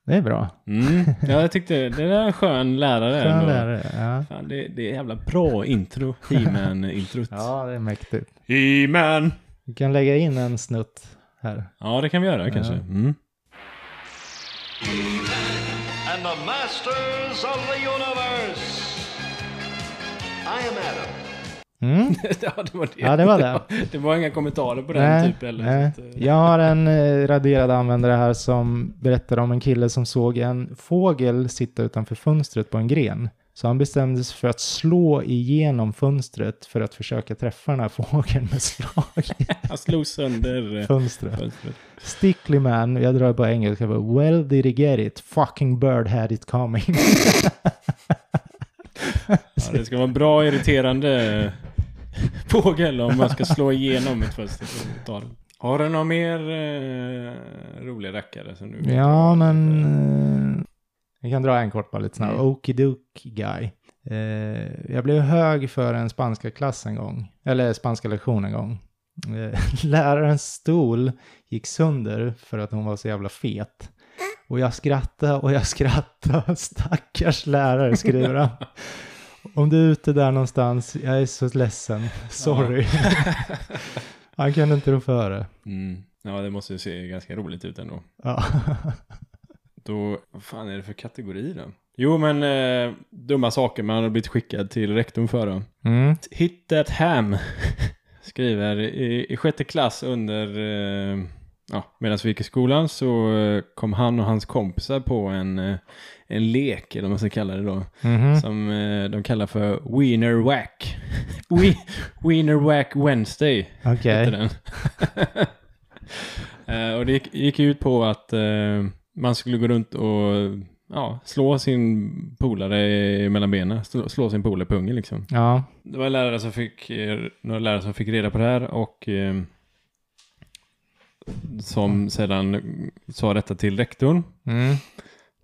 Speaker 2: det är bra.
Speaker 1: Mm. Ja, jag tyckte det där är en skön lärare.
Speaker 2: Skön
Speaker 1: ändå.
Speaker 2: lärare. Ja.
Speaker 1: Fan, det, det är jävla bra intro, He-Man-introt.
Speaker 2: ja, det är mäktigt.
Speaker 1: He-Man!
Speaker 2: Vi kan lägga in en snutt här.
Speaker 1: Ja, det kan vi göra kanske. Mm.
Speaker 3: and the masters of the universe. I am Adam.
Speaker 2: Mm.
Speaker 1: ja, det var det.
Speaker 2: Ja, det var det.
Speaker 1: Det var inga kommentarer på den typ eller
Speaker 2: nej.
Speaker 1: så att, eh,
Speaker 2: Jag har en eh, raderad användare här som berättar om en kille som såg en fågel sitta utanför fönstret på en gren. Så han bestämde sig för att slå igenom fönstret för att försöka träffa den här fågeln med slag i
Speaker 1: Han slog sönder eh,
Speaker 2: fönstret.
Speaker 1: fönstret.
Speaker 2: Stickly man, jag drar bara engelska, bara, well did he get it, fucking bird had it coming.
Speaker 1: Ja, det ska vara en bra irriterande eh, fågel om man ska slå igenom ett fönster. och ta den. Har du någon mer eh, rolig rackare? Som du
Speaker 2: Ja, men... Eh, jag kan dra en kort bara lite snabbt.
Speaker 1: Mm.
Speaker 2: Okidoki guy. Eh, jag blev hög för en spanska klass en gång. Eller spanska lektion en gång. Eh, lärarens stol gick sönder för att hon var så jävla fet. Och jag skrattade och jag skrattade. Stackars lärare, skriver han. Om du är ute där någonstans, jag är så ledsen. Sorry. han kunde inte rå för det.
Speaker 1: Mm. Ja, det måste ju se ganska roligt ut ändå.
Speaker 2: Ja.
Speaker 1: Då, vad fan är det för kategori då? Jo, men eh, dumma saker man har blivit skickad till rektorn för då.
Speaker 2: Mm.
Speaker 1: Hit that ham, skriver i, i sjätte klass under, eh, ja, medan vi gick i skolan så eh, kom han och hans kompisar på en, eh, en lek, eller vad man ska kalla det då,
Speaker 2: Mhm.
Speaker 1: som eh, de kallar för Wiener Whack. We, Wiener Whack Wednesday
Speaker 2: Okej.
Speaker 1: hette den. Eh, och det gick, gick ut på att eh, man skulle gå runt och ja, slå sin polare i- mellan benen, slå, slå sin polare på ungen liksom.
Speaker 2: Ja.
Speaker 1: Det var en lärare som fick, eh, några lärare som fick reda på det här och eh, som sedan sa detta till rektorn.
Speaker 2: Mm.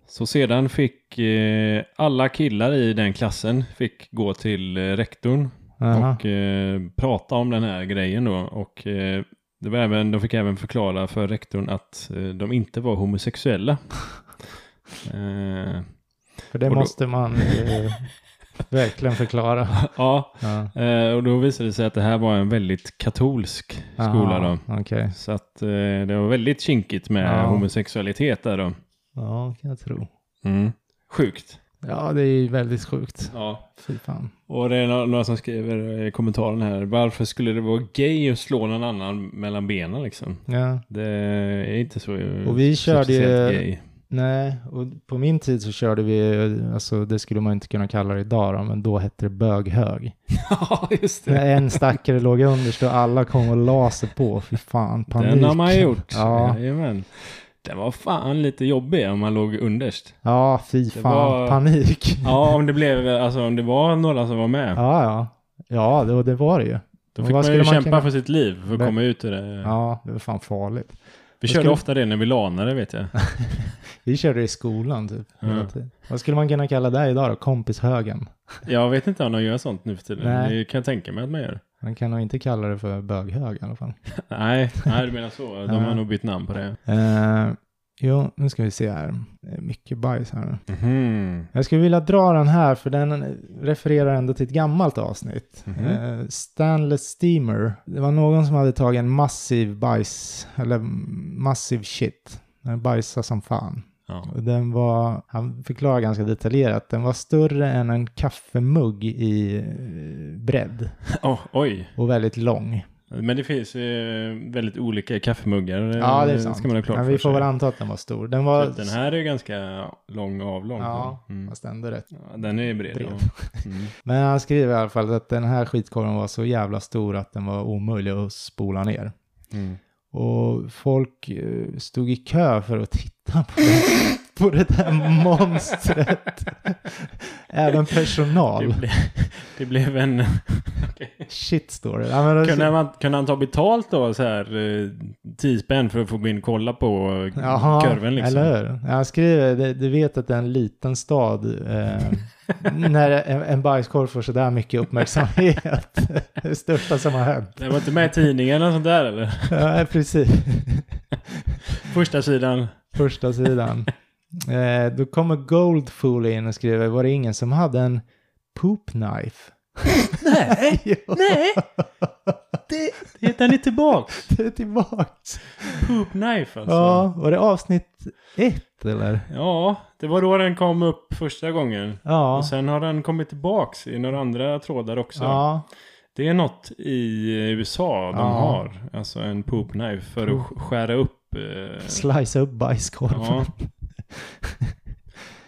Speaker 1: Så sedan fick eh, alla killar i den klassen fick gå till eh, rektorn
Speaker 2: Aha.
Speaker 1: och eh, prata om den här grejen då. Och eh, det var även, de fick även förklara för rektorn att eh, de inte var homosexuella. eh,
Speaker 2: För det
Speaker 1: och då-
Speaker 2: måste man eh, verkligen förklara.
Speaker 1: ja,
Speaker 2: Ja.
Speaker 1: eh, och då visade det sig att det här var en väldigt katolsk skola då.
Speaker 2: Aha, Okej.
Speaker 1: Så att eh, det var väldigt kinkigt med
Speaker 2: Ja.
Speaker 1: homosexualitet där då.
Speaker 2: Ja, kan jag tro.
Speaker 1: Mm. Sjukt.
Speaker 2: Ja, det är ju väldigt sjukt.
Speaker 1: Ja.
Speaker 2: Fy fan.
Speaker 1: Och det är nå- några som skriver i kommentaren här, varför skulle det vara gay att slå någon annan mellan benen liksom?
Speaker 2: Ja.
Speaker 1: Det är inte så eh,
Speaker 2: Och vi körde ju-
Speaker 1: speciellt gay.
Speaker 2: Nej, och på min tid så körde vi, eh, alltså det skulle man inte kunna kalla det idag då, men då hette det böghög.
Speaker 1: Ja, just det.
Speaker 2: När en stackare låg underst och alla kom och la sig på, fy fan, panik.
Speaker 1: Den har man gjort.
Speaker 2: Ja.
Speaker 1: Jajamän. Den var fan lite jobbig om man låg underst.
Speaker 2: Ja, fy
Speaker 1: Det
Speaker 2: fan,
Speaker 1: var-
Speaker 2: panik.
Speaker 1: Ja, om det blev, alltså om det var några som var med.
Speaker 2: Ja, ja. Ja, det, det var det ju.
Speaker 1: Då
Speaker 2: Men
Speaker 1: fick
Speaker 2: vad
Speaker 1: man ju
Speaker 2: skulle man
Speaker 1: kämpa
Speaker 2: kunna-
Speaker 1: för sitt liv för att
Speaker 2: Men-
Speaker 1: komma ut ur det.
Speaker 2: Ja, det var fan farligt.
Speaker 1: Vi
Speaker 2: vad
Speaker 1: körde
Speaker 2: skulle-
Speaker 1: ofta det när vi lanade vet jag.
Speaker 2: Vi körde i skolan typ. hela
Speaker 1: Ja.
Speaker 2: tiden. Vad skulle man kunna kalla det idag då? Kompishögen.
Speaker 1: Jag vet inte om de gör sånt nu för tiden.
Speaker 2: Nej.
Speaker 1: Det kan jag tänka mig att man gör.
Speaker 2: Man kan nog inte kalla det för böghög i alla fall.
Speaker 1: Nej, nej du menar så. De har
Speaker 2: Ja.
Speaker 1: nog bytt namn på det.
Speaker 2: Eh, Jo, nu ska vi se här. Det är mycket bajs här nu.
Speaker 1: Mhm.
Speaker 2: Jag skulle vilja dra den här för den refererar ändå till ett gammalt avsnitt.
Speaker 1: Mhm.
Speaker 2: Eh, Stanless Steamer. Det var någon som hade tagit en massiv bajs, eller massiv shit. Den bajsade som fan.
Speaker 1: Ja.
Speaker 2: Och Den var, han förklarar ganska detaljerat, den var större än en kaffemugg i eh, bredd
Speaker 1: Åh, oj.
Speaker 2: och väldigt lång.
Speaker 1: Men det finns eh, väldigt olika kaffemuggar.
Speaker 2: Ja, det är
Speaker 1: eh,
Speaker 2: sant.
Speaker 1: ska man ha klart
Speaker 2: Men vi
Speaker 1: för
Speaker 2: får
Speaker 1: sig. Typ
Speaker 2: väl anta att den var stor. Den var...
Speaker 1: Den här är ju ganska lång och avlång.
Speaker 2: Ja,
Speaker 1: Mm.
Speaker 2: fast ändå rätt.
Speaker 1: Ja, Den är bred.
Speaker 2: Bred.
Speaker 1: ja. Mm.
Speaker 2: Men han skriver i alla fall att den här skitkorven var så jävla stor att den var omöjlig att spola ner.
Speaker 1: Mm.
Speaker 2: Och folk eh, stod i kö för att titta på det, på det där monstret. Även personal.
Speaker 1: Det, ble, det blev en... Okej.
Speaker 2: Shit står det. Ja, men alltså-
Speaker 1: kunde, man, kunde han ta betalt då så här eh, 10 spänn för att få gå in och kolla på eh,
Speaker 2: Jaha,
Speaker 1: kurven liksom?
Speaker 2: eller hur? Ja, Han skriver, du, du vet att det är en liten stad eh, när en, en bajskorv får sådär mycket uppmärksamhet. det största som har hänt.
Speaker 1: Det var inte med i tidningen eller sånt där eller?
Speaker 2: Ja, precis.
Speaker 1: Första sidan.
Speaker 2: Första sidan. Eh, då kommer Goldfool in och skriver, var det ingen som hade en poop knife?
Speaker 1: Nej,
Speaker 2: Jo,
Speaker 1: nej! Det, det heter han är tillbaka.
Speaker 2: det är tillbaks.
Speaker 1: Poop knife alltså.
Speaker 2: Ja, var det avsnitt ett eller?
Speaker 1: Ja, det var då den kom upp första gången.
Speaker 2: Ja.
Speaker 1: Och sen har den kommit tillbaks i några andra trådar också.
Speaker 2: Ja,
Speaker 1: Det är något i USA de
Speaker 2: Ja.
Speaker 1: har. Alltså en poop knife för att sk- skära upp. Eh,
Speaker 2: slice upp bajskorven.
Speaker 1: ja.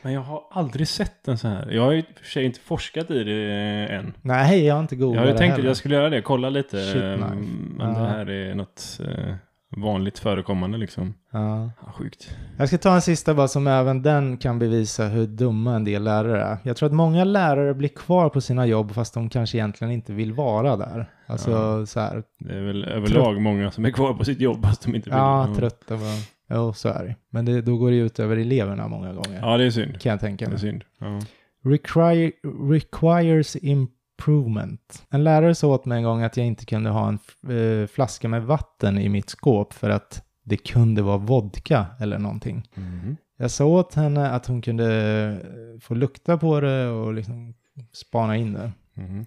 Speaker 1: Men jag har aldrig sett en sån här. Jag har ju i och för sig inte forskat i det eh, än.
Speaker 2: Nej, jag har inte
Speaker 1: Jag
Speaker 2: googlat
Speaker 1: har ju
Speaker 2: det
Speaker 1: tänkt att
Speaker 2: heller.
Speaker 1: jag skulle göra det. Kolla lite
Speaker 2: Shit
Speaker 1: eh,
Speaker 2: knife.
Speaker 1: om
Speaker 2: Ja.
Speaker 1: det här är något eh, vanligt förekommande liksom.
Speaker 2: Ja.
Speaker 1: Ja, sjukt.
Speaker 2: Jag ska ta en sista bara som även den kan bevisa hur dumma en del lärare är. Jag tror att många lärare blir kvar på sina jobb fast de kanske egentligen inte vill vara där. Alltså så här,
Speaker 1: Det är väl överlag många som är kvar på sitt jobb fast de inte vill.
Speaker 2: ja, trötta på... Jo, så är det. Men det, då går det ut över eleverna många gånger.
Speaker 1: Ja, det är synd.
Speaker 2: Kan jag tänka
Speaker 1: Det är
Speaker 2: mig.
Speaker 1: synd. Ja.
Speaker 2: Require, requires improvement. En lärare sa åt mig en gång att jag inte kunde ha en f- eh, flaska med vatten i mitt skåp för att det kunde vara vodka eller någonting.
Speaker 1: Mhm.
Speaker 2: Jag sa åt henne att hon kunde eh, få lukta på det och liksom spana in det.
Speaker 1: Mhm.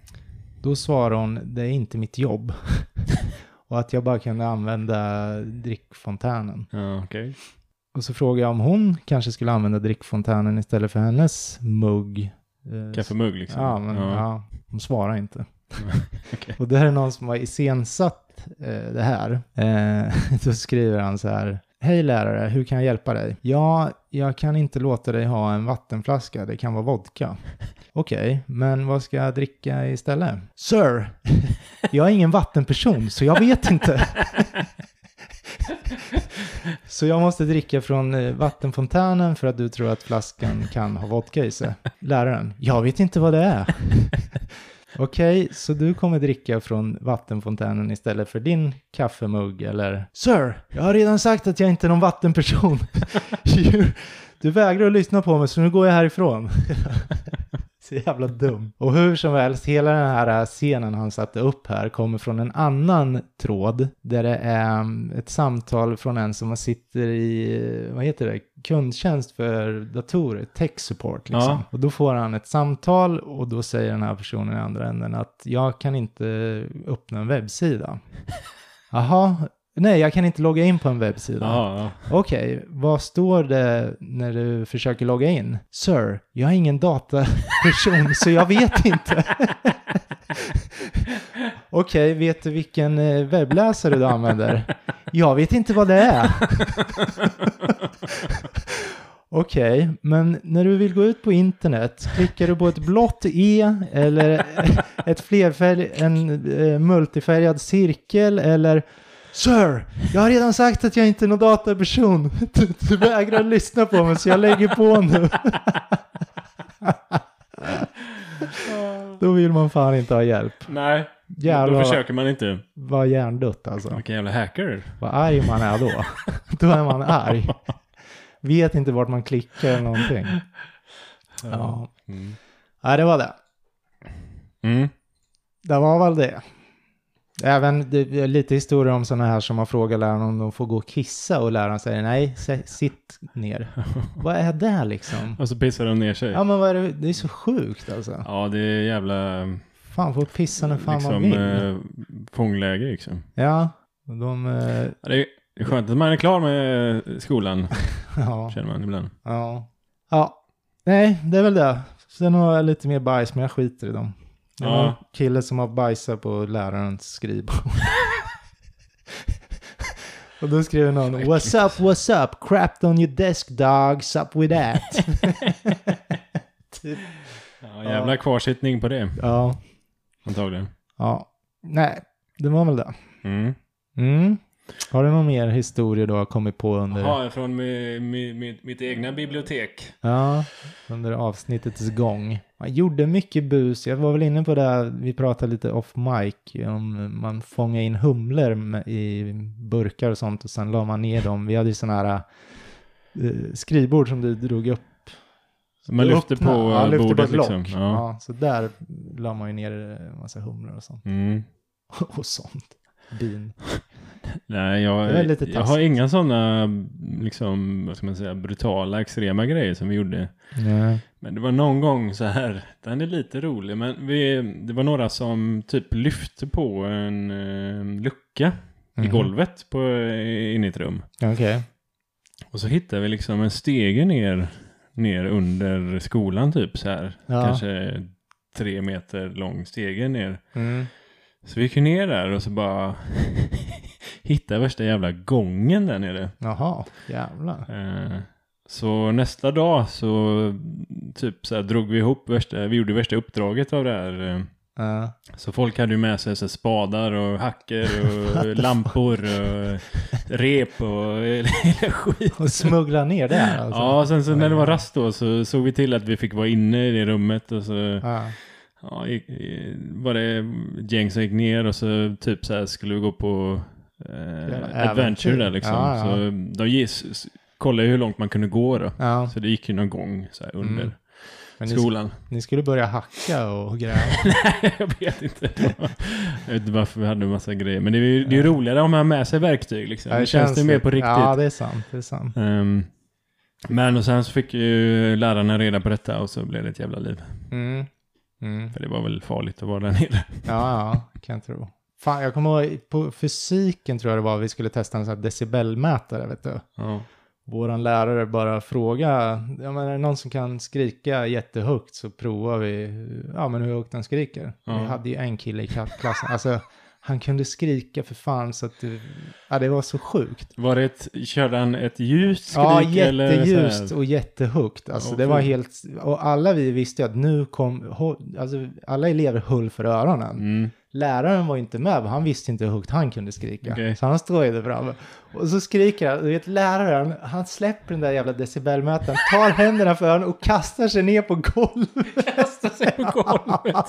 Speaker 2: Då svarade hon, det är inte mitt jobb. och att jag bara kunde använda drickfontänen.
Speaker 1: Ja, okej.
Speaker 2: Och så frågade jag om hon kanske skulle använda drickfontänen istället för hennes mugg. Eh,
Speaker 1: Kaffemugg liksom.
Speaker 2: Ja, men ja. hon svarar inte.
Speaker 1: okej.
Speaker 2: Och där är någon som har iscensatt eh, det här. Eh, då skriver han så här. Hej lärare, hur kan jag hjälpa dig? Ja, jag kan inte låta dig ha en vattenflaska, det kan vara vodka. Okej, men vad ska jag dricka istället? Sir, jag är ingen vattenperson så jag vet inte. Så jag måste dricka från eh, vattenfontänen för att du tror att flaskan kan ha vodka i sig. Läraren, jag vet inte vad det är. Okej, så du kommer dricka från vattenfontänen istället för din kaffemugg eller? Sir, jag har redan sagt att jag inte är någon vattenperson. You- du vägrar att lyssna på mig så nu går jag härifrån. Så jävla dum. Och hur som helst, hela den här eh, scenen han satte upp här kommer från en annan tråd där det är mm, ett samtal från en som sitter i, eh, vad heter det, kundtjänst för datorer, tech support liksom.
Speaker 1: Ja.
Speaker 2: Och då får han ett samtal och då säger den här personen i andra änden att jag kan inte öppna en webbsida. Jaha, nej jag kan inte logga in på en webbsida.
Speaker 1: Ja, ja.
Speaker 2: Okej, vad står det när du försöker logga in? Sir, jag är ingen dataperson så jag vet inte. Okej, vet du vilken eh, webbläsare du använder? Jag vet inte vad det är. Okej, men när du vill gå ut på internet, klickar du på ett blått E eller ett flerfärg, en eh, multifärgad cirkel eller Sir, jag har redan sagt att jag inte är någon dataperson. Du, du vägrar lyssna på mig så jag lägger på nu. Då vill man fan inte ha hjälp.
Speaker 1: Nej, då
Speaker 2: Jävlar.
Speaker 1: försöker man inte.
Speaker 2: Vad hjärndött alltså.
Speaker 1: Vilken jävla hacker.
Speaker 2: Vad arg man är då. Då är man arg. Vet inte vart man klickar eller någonting. Ja,
Speaker 1: Mm.
Speaker 2: ja det var det.
Speaker 1: Mm.
Speaker 2: Det var väl det. Även det, det är lite historier om sådana här som man frågar läraren om de får gå och kissa och läraren säger nej, sä- sitt ner. vad är det liksom?
Speaker 1: Och så pissar de ner sig.
Speaker 2: Ja men vad är det, det är så sjukt alltså.
Speaker 1: Ja, det är jävla
Speaker 2: Fan, får pissa när fan
Speaker 1: liksom,
Speaker 2: man vill.
Speaker 1: eh, fångläge liksom.
Speaker 2: Ja, de, eh,
Speaker 1: Ja, Det är skönt att man är klar med eh, skolan,
Speaker 2: ja,
Speaker 1: känner man ibland.
Speaker 2: ja. Ja, nej, det är väl det. Sen har jag lite mer bajs, men jag skiter i dem. Det var
Speaker 1: Ja.
Speaker 2: en kille som har bajsat på lärarens skrivbord. Och då skriver någon What's up, what's up? Crapped on your desk dog, sup with that.
Speaker 1: Ja, jävla kvarsittning på det,
Speaker 2: ja,
Speaker 1: antagligen.
Speaker 2: ja. Nej, det var väl det.
Speaker 1: Mm.
Speaker 2: Mm. Har du någon mer historia du har kommit på under,
Speaker 1: Jaha, från mi, mi, mitt, mitt egna bibliotek.
Speaker 2: ja, under avsnittets gång? Man gjorde mycket bus. Jag var väl inne på det, här, vi pratade lite off mic, om man fångade in humlor med- i burkar och sånt och sen la man ner dem. Vi hade ju sådana här eh, skrivbord som du drog upp.
Speaker 1: Som man lyfte
Speaker 2: öppna-
Speaker 1: på
Speaker 2: ja,
Speaker 1: eh,
Speaker 2: lyfte
Speaker 1: bordet
Speaker 2: på ett
Speaker 1: liksom.
Speaker 2: lock.
Speaker 1: Ja.
Speaker 2: Ja. så där la man ju ner en massa humlor och sånt.
Speaker 1: Mm.
Speaker 2: och sånt. Bin.
Speaker 1: Nej,
Speaker 2: Det var
Speaker 1: jag,
Speaker 2: lite
Speaker 1: jag har
Speaker 2: taskigt.
Speaker 1: inga sådana liksom, vad ska man säga, brutala, extrema grejer som vi gjorde.
Speaker 2: Nej.
Speaker 1: Men det var någon gång så här, den är lite rolig, men vi, det var några som typ lyfte på en eh, lucka i
Speaker 2: Mhm.
Speaker 1: golvet på, eh, in i ett rum.
Speaker 2: Okej.
Speaker 1: Och så hittade vi liksom en stege ner, ner under skolan typ så här.
Speaker 2: Ja.
Speaker 1: Kanske tre meter lång stege ner.
Speaker 2: Mm.
Speaker 1: Så vi gick ju ner där och så bara hittade värsta jävla gången där nere.
Speaker 2: Jaha, jävlar.
Speaker 1: Eh, Så nästa dag så typ så här drog vi ihop värsta, vi gjorde värsta uppdraget av det här. eh.
Speaker 2: Ja.
Speaker 1: Så folk hade ju med sig så här spadar och hackor och lampor och rep och hela skit.
Speaker 2: Och smuggla ner det här alltså?
Speaker 1: Ja, sen så när det var rast då så såg vi till att vi fick vara inne i det rummet och så
Speaker 2: Ja.
Speaker 1: ja, gick- eh, var det ett gäng som gick ner och så typ så här skulle vi gå på eh,
Speaker 2: äventyr.
Speaker 1: adventure där liksom.
Speaker 2: Ja, ja.
Speaker 1: Så de gis, s- kollade ju hur långt man kunde gå då.
Speaker 2: ja.
Speaker 1: Så det gick ju någon gång så här under
Speaker 2: Mm. Men ni,
Speaker 1: skolan.
Speaker 2: ni skulle börja hacka och gräva?
Speaker 1: jag vet inte. jag vet inte varför vi hade en massa grejer. Men det är ju det är ju roligare om man har med sig verktyg liksom. det känns det mer på riktigt.
Speaker 2: Ja, det är sant. Det är sant.
Speaker 1: Ehm, men och sen så fick ju lärarna reda på detta och så blev det ett jävla liv.
Speaker 2: Mm. Mm.
Speaker 1: För det var väl farligt att vara där nere.
Speaker 2: Ja, ja, kan jag tro. Fan, jag kommer ihåg, på fysiken tror jag det var, vi skulle testa en sån här decibelmätare, vet du.
Speaker 1: Ja.
Speaker 2: Våran lärare bara fråga, ja men är det någon som kan skrika jättehögt så provar vi, ja men hur högt den skriker.
Speaker 1: Ja.
Speaker 2: Vi hade ju en kille i klassen, alltså han kunde skrika för fan så att det, ja det var så sjukt.
Speaker 1: Var det ett, körde han ett ljust skrik?
Speaker 2: Ja,
Speaker 1: eller så här?
Speaker 2: jätteljust och jättehögt. Alltså,
Speaker 1: Ja,
Speaker 2: det var
Speaker 1: fy.
Speaker 2: helt... Och alla vi visste ju att nu kom... hå- Alltså, alla elever höll för öronen.
Speaker 1: Mm.
Speaker 2: Läraren var inte med, men han visste inte hur högt han kunde skrika.
Speaker 1: Okej.
Speaker 2: Så han strojade fram. Och så skriker han, du vet läraren, han släpper den där jävla decibelmätaren, tar händerna för öronen och kastar sig ner på golvet. Kastar sig
Speaker 1: på golvet.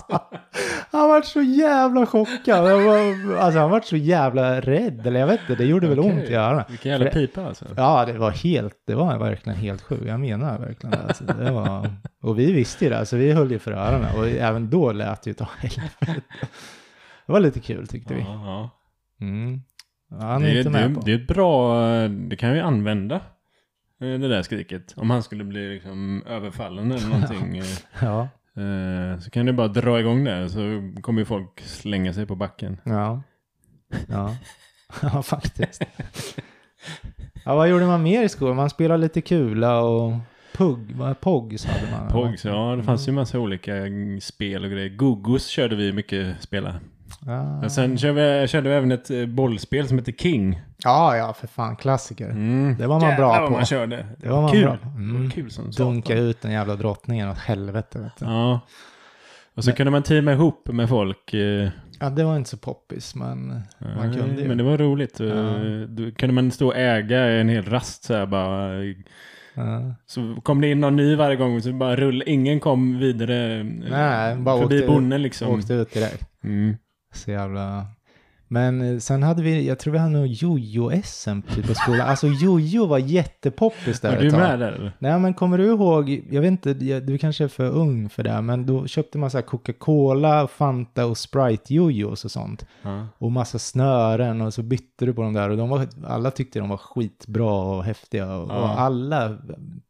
Speaker 2: han var så jävla chockad. Han var, alltså han var så jävla rädd, eller jag vet inte, det gjorde väl
Speaker 1: Okej.
Speaker 2: ont i öronen.
Speaker 1: Vilken jävla
Speaker 2: För-
Speaker 1: pipa alltså.
Speaker 2: Ja, det var helt, det var verkligen helt sjukt. Jag menar verkligen det. Alltså, det var, och vi visste ju det, så vi höll ju för öronen. Och även då lät det ju ta helvete. Det var lite kul tyckte vi.
Speaker 1: Ja,
Speaker 2: Mm. Ja,
Speaker 1: ja.
Speaker 2: Han är
Speaker 1: Det, är-
Speaker 2: inte
Speaker 1: det,
Speaker 2: med
Speaker 1: är-
Speaker 2: på.
Speaker 1: det är bra, eh, det kan vi använda. eh, Det där skriket. Om han skulle bli liksom överfallen eller någonting. eh,
Speaker 2: Ja,
Speaker 1: eh, Så kan du bara dra igång där så kommer ju folk slänga sig på backen.
Speaker 2: ja, ja. ja faktiskt. Ja, vad gjorde man mer i skolan? Man spelade lite kula och pugg, vad- pogs hade man. va?
Speaker 1: Pogs, ja det fanns ju massa olika mm, spel och grejer. Gogos körde vi mycket spela.
Speaker 2: Ja.
Speaker 1: Men sen körde vi, körde vi även ett eh, bollspel som heter King.
Speaker 2: ja, ja, för fan, klassiker.
Speaker 1: Mm.
Speaker 2: Det var man
Speaker 1: Jävlar
Speaker 2: bra
Speaker 1: vad
Speaker 2: på.
Speaker 1: man körde.
Speaker 2: Det var man
Speaker 1: kul.
Speaker 2: bra på. Mm.
Speaker 1: Det var kul som
Speaker 2: Dunka
Speaker 1: satan.
Speaker 2: ut den jävla drottningen åt helvete. Vet du.
Speaker 1: Ja. Och så kunde man teama ihop med folk. eh,
Speaker 2: Ja, det var inte så poppis, men man kunde ju.
Speaker 1: Men det var roligt. Eh, Då kunde man stå och äga en hel rast så här bara. eh,
Speaker 2: Ja.
Speaker 1: Så kom det in någon ny varje gång så bara rull. Ingen kom vidare eh,
Speaker 2: Nej, bara
Speaker 1: förbi
Speaker 2: åkte-
Speaker 1: bonden liksom.
Speaker 2: Åkte ut direkt.
Speaker 1: Mm.
Speaker 2: Så jävla... Men eh, sen hade vi, jag tror vi hade nog jojo-SM typ på skolan. Alltså jojo var jättepoppis där
Speaker 1: Var
Speaker 2: ett
Speaker 1: du
Speaker 2: tag.
Speaker 1: med där eller?
Speaker 2: Nej men kommer du ihåg, jag vet inte, jag- du kanske är för ung för det, men då köpte man så här Coca-Cola, Fanta och Sprite jojos och sånt.
Speaker 1: Ja.
Speaker 2: Och massa snören och så bytte du på dem där och de var, alla tyckte de var skitbra och häftiga. Och,
Speaker 1: Ja.
Speaker 2: och alla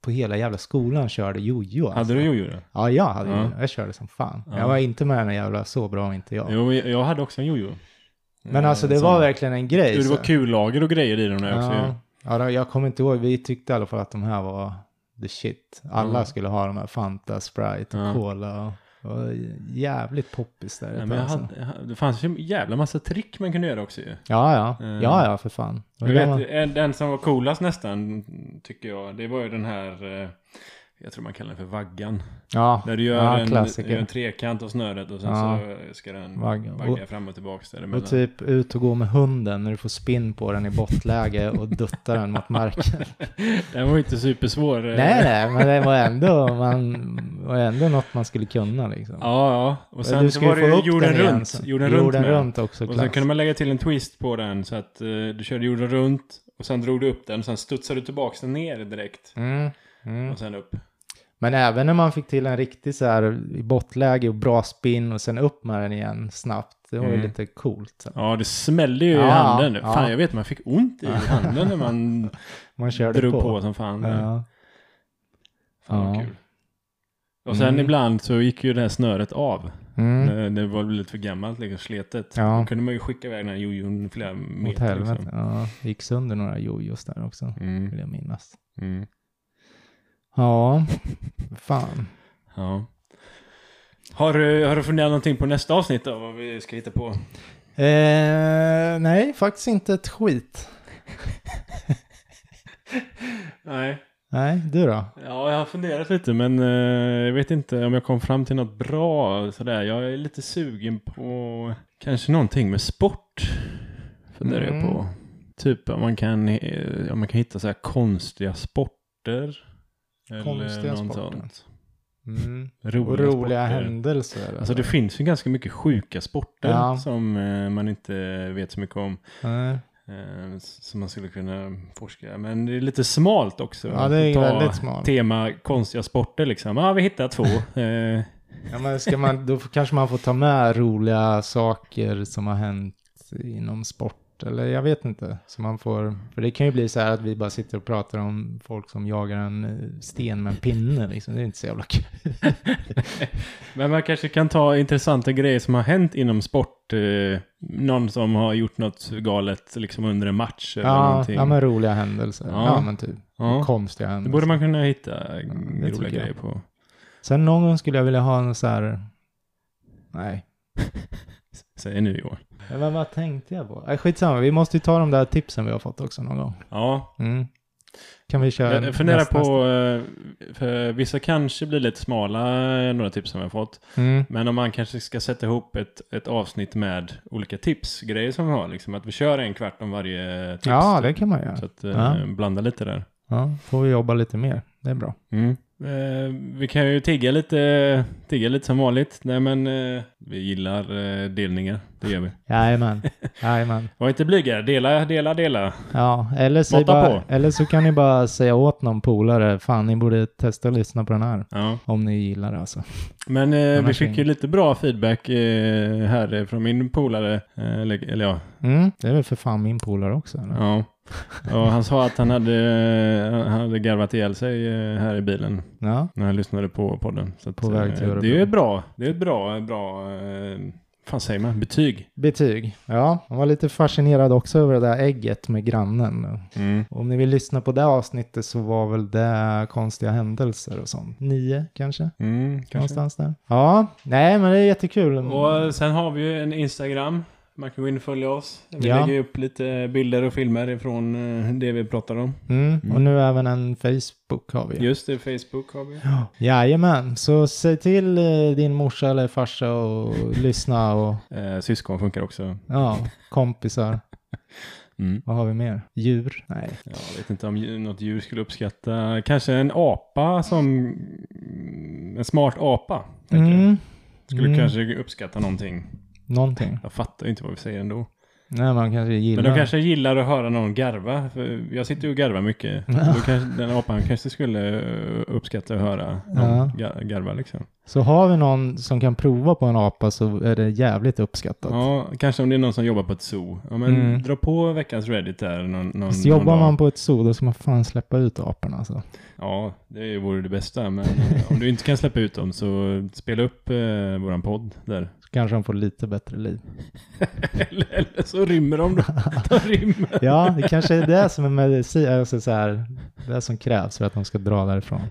Speaker 2: på hela jävla skolan körde jojo. Alltså.
Speaker 1: Hade du jojo då?
Speaker 2: Ja, jag hade
Speaker 1: Ja.
Speaker 2: jojo. Jag körde som fan.
Speaker 1: Ja.
Speaker 2: Jag var inte med i den jävla Så bra var inte jag.
Speaker 1: Jo, men jag hade också en jojo.
Speaker 2: Men alltså det
Speaker 1: Eh,
Speaker 2: var
Speaker 1: som-
Speaker 2: verkligen en grej.
Speaker 1: Jo, Det
Speaker 2: så-
Speaker 1: var kullager och grejer i dem där också ju.
Speaker 2: Ja, ja då, jag kommer inte ihåg. Vi tyckte i alla fall att de här var the shit. Alla
Speaker 1: Mm.
Speaker 2: skulle ha de här Fanta, Sprite och
Speaker 1: Ja.
Speaker 2: Cola. Och, det var jävligt poppis där.
Speaker 1: Nej,
Speaker 2: alltså. ett
Speaker 1: men jag
Speaker 2: tag sedan.
Speaker 1: hade, jag hade- det fanns ju en jävla massa trick man kunde göra också ju.
Speaker 2: Ja, ja.
Speaker 1: Eh.
Speaker 2: Ja, ja, för fan.
Speaker 1: Jag
Speaker 2: Det var-
Speaker 1: vet, en- den som var coolast nästan, tycker jag, det var ju den här, eh, jag tror man kallar den för vaggan.
Speaker 2: ja,
Speaker 1: Där du gör,
Speaker 2: ja,
Speaker 1: en,
Speaker 2: klassiker.
Speaker 1: gör en trekant av snöret och sen så ska den
Speaker 2: Vagga.
Speaker 1: vagga fram och tillbaka däremellan.
Speaker 2: och typ ut och gå med hunden när du får spinn på den i bottläge och dutta den mot marken.
Speaker 1: Den var ju inte supersvår. eh.
Speaker 2: nej, nej, men det var ändå, man, var ändå något man skulle kunna liksom.
Speaker 1: Ja, ja. Och sen
Speaker 2: du
Speaker 1: så
Speaker 2: ska ju
Speaker 1: var det
Speaker 2: få
Speaker 1: ju
Speaker 2: upp
Speaker 1: jorden
Speaker 2: den igen
Speaker 1: runt.
Speaker 2: sen.
Speaker 1: Jorden runt med.
Speaker 2: runt också,
Speaker 1: Och sen
Speaker 2: klass.
Speaker 1: kunde man lägga till en twist på den så att eh, du körde jorden runt och sen drog du upp den och sen studsade du tillbaka den ner direkt.
Speaker 2: Mm, mm.
Speaker 1: Och sen upp.
Speaker 2: Men även när man fick till en riktig så här i bottläge och bra spinn och sen upp med den igen snabbt. Det var ju
Speaker 1: Mm.
Speaker 2: lite coolt. Så.
Speaker 1: Ja, det smällde ju
Speaker 2: Ja,
Speaker 1: i handen.
Speaker 2: ja.
Speaker 1: Fan, jag vet, man fick ont i handen när man
Speaker 2: Man körde
Speaker 1: Mm. drog på.
Speaker 2: på.
Speaker 1: som fan.
Speaker 2: Ja.
Speaker 1: Fan, vad
Speaker 2: Ja.
Speaker 1: kul. Och sen
Speaker 2: Mm.
Speaker 1: ibland så gick ju det här snöret av.
Speaker 2: Mm.
Speaker 1: Det, det var väl lite för gammalt, liksom sletet.
Speaker 2: Ja.
Speaker 1: Då kunde man ju skicka iväg den här jojon flera meter.
Speaker 2: Åt helvete.
Speaker 1: Liksom.
Speaker 2: Ja, det gick sönder några jojos där också.
Speaker 1: Mm,
Speaker 2: Vill jag minnas.
Speaker 1: mm.
Speaker 2: Ja, fan.
Speaker 1: Ja. Har du, har du funderat någonting på nästa avsnitt då? Vad vi ska hitta på?
Speaker 2: Eh, nej, faktiskt inte ett skit.
Speaker 1: Nej.
Speaker 2: Nej, du då?
Speaker 1: Ja, jag har funderat lite men eh, jag vet inte om jag kom fram till något bra sådär. Jag är lite sugen på kanske någonting med sport. Funderar jag
Speaker 2: Mm.
Speaker 1: på. Typ om man kan, eh, om man kan hitta så här konstiga sporter. Eller
Speaker 2: Konstiga
Speaker 1: något
Speaker 2: sporter.
Speaker 1: sånt.
Speaker 2: Mm.
Speaker 1: Roliga,
Speaker 2: Och roliga
Speaker 1: sporter.
Speaker 2: händelser.
Speaker 1: Alltså det
Speaker 2: eller?
Speaker 1: finns ju ganska mycket sjuka sporter
Speaker 2: Ja.
Speaker 1: som eh, man inte vet så mycket om.
Speaker 2: Nej.
Speaker 1: Eh, s- som man skulle kunna forska. Men det är lite smalt också.
Speaker 2: Ja, det är
Speaker 1: Ta
Speaker 2: väldigt smalt.
Speaker 1: Tema konstiga sporter liksom. Ja, vi hittar två. eh,
Speaker 2: Ja, men ska man, då kanske man får ta med roliga saker som har hänt inom sport. Eller jag vet inte. Så man får, för det kan ju bli så här att vi bara sitter och pratar om folk som jagar en eh, sten med en pinne. Liksom. Det är inte så jävla kul.
Speaker 1: men man kanske kan ta intressanta grejer som har hänt inom sport. Eh, någon som har gjort något galet liksom under en match eller
Speaker 2: Ja,
Speaker 1: någonting.
Speaker 2: ja, men roliga händelser. Ja,
Speaker 1: Ja.
Speaker 2: men typ.
Speaker 1: Ja.
Speaker 2: Konstiga
Speaker 1: Det
Speaker 2: händelser.
Speaker 1: borde man kunna hitta
Speaker 2: det tycker
Speaker 1: roliga
Speaker 2: jag.
Speaker 1: grejer på.
Speaker 2: Sen någon gång skulle jag vilja ha en så här... Nej.
Speaker 1: Säg nu Johan.
Speaker 2: Men vad- vad tänkte jag på? Äh, skitsamma, vi måste ju ta de där tipsen vi har fått också någon gång.
Speaker 1: Ja,
Speaker 2: Mm. Kan vi köra
Speaker 1: Jag funderar
Speaker 2: nästa-
Speaker 1: på, eh, för vissa kanske blir lite smala, eh, några tips som jag fått.
Speaker 2: Mm.
Speaker 1: Men om man kanske ska sätta ihop ett, ett avsnitt med olika tips, grejer som vi har. Liksom, att vi kör en kvart om varje tips.
Speaker 2: Ja,
Speaker 1: typ.
Speaker 2: det kan man göra.
Speaker 1: Så att eh,
Speaker 2: Ja.
Speaker 1: blanda lite där.
Speaker 2: Ja, får vi jobba lite mer. Det är bra.
Speaker 1: Mm. Eh, vi kan ju tigga lite, tigga lite som vanligt. Nej men, eh, vi gillar eh, delningar. Det gör vi.
Speaker 2: Jajamän. Jajamän.
Speaker 1: Var inte blyga. Dela, dela, dela.
Speaker 2: Ja, eller, säg
Speaker 1: Mata
Speaker 2: bara,
Speaker 1: på.
Speaker 2: eller så kan ni bara säga åt någon polare, fan ni borde testa att lyssna på den här.
Speaker 1: Ja.
Speaker 2: Om ni gillar det alltså.
Speaker 1: Men eh, vi
Speaker 2: Annars
Speaker 1: fick ju
Speaker 2: ingen.
Speaker 1: lite bra feedback eh, här eh, från min polare. Eh, eller, eller ja,
Speaker 2: Mm, det är väl för fan min polare också. Eller?
Speaker 1: Ja. Och han sa att han hade, eh, han hade garvat ihjäl sig eh, här i bilen
Speaker 2: Ja.
Speaker 1: när han lyssnade på podden. Så att,
Speaker 2: På väg till
Speaker 1: eh,
Speaker 2: Örebro.
Speaker 1: Det är ju bra. Det är ett bra, bra eh, fan säger man, betyg.
Speaker 2: Betyg. Ja, han var lite fascinerad också över det där ägget med grannen.
Speaker 1: Mm.
Speaker 2: Om ni vill lyssna på det avsnittet så var väl det konstiga händelser och sånt. Nio kanske?
Speaker 1: Mm, kanske.
Speaker 2: Någonstans där. Ja, nej men det är jättekul.
Speaker 1: Och eh, sen har vi ju en Instagram. Man kan gå in och följa oss. Vi
Speaker 2: Ja.
Speaker 1: lägger ju upp lite bilder och filmer ifrån eh, det vi pratar om.
Speaker 2: Mm. Och
Speaker 1: Mm.
Speaker 2: nu även en Facebook har vi.
Speaker 1: Just det, Facebook har vi.
Speaker 2: Jajamän, så säg till eh, din morsa eller farsa och lyssna och
Speaker 1: Eh, syskon funkar också.
Speaker 2: ja, kompisar.
Speaker 1: Mm.
Speaker 2: Vad har vi mer? Djur? Nej.
Speaker 1: Jag vet inte om djur- något djur skulle uppskatta. Kanske en apa som... mm, En smart apa. tänker jag.
Speaker 2: Mm,
Speaker 1: Skulle
Speaker 2: Mm.
Speaker 1: kanske uppskatta någonting.
Speaker 2: någonting.
Speaker 1: Jag fattar ju inte vad vi säger ändå.
Speaker 2: Nej, man kanske gillar.
Speaker 1: Men de kanske gillar att höra någon garva. För jag sitter ju och garvar mycket. Då kanske, den apan kanske skulle eh, uppskatta att höra någon ga- garva liksom.
Speaker 2: Så har vi någon som kan prova på en apa så är det jävligt uppskattat.
Speaker 1: Ja, kanske om det är någon som jobbar på ett zoo. Ja, men
Speaker 2: Mm.
Speaker 1: dra på veckans Reddit där. Någon, någon,
Speaker 2: Fast jobbar
Speaker 1: någon dag.
Speaker 2: man på ett zoo då ska man fan släppa ut aporna alltså.
Speaker 1: Ja, det vore det bästa. Men eh, om du inte kan släppa ut dem så spela upp eh, våran podd där.
Speaker 2: Så kanske de får lite bättre liv.
Speaker 1: eller, eller så rymmer de då. De rymmer.
Speaker 2: Ja, det kanske är det som är medicin, alltså så här, det som krävs för att de ska dra därifrån.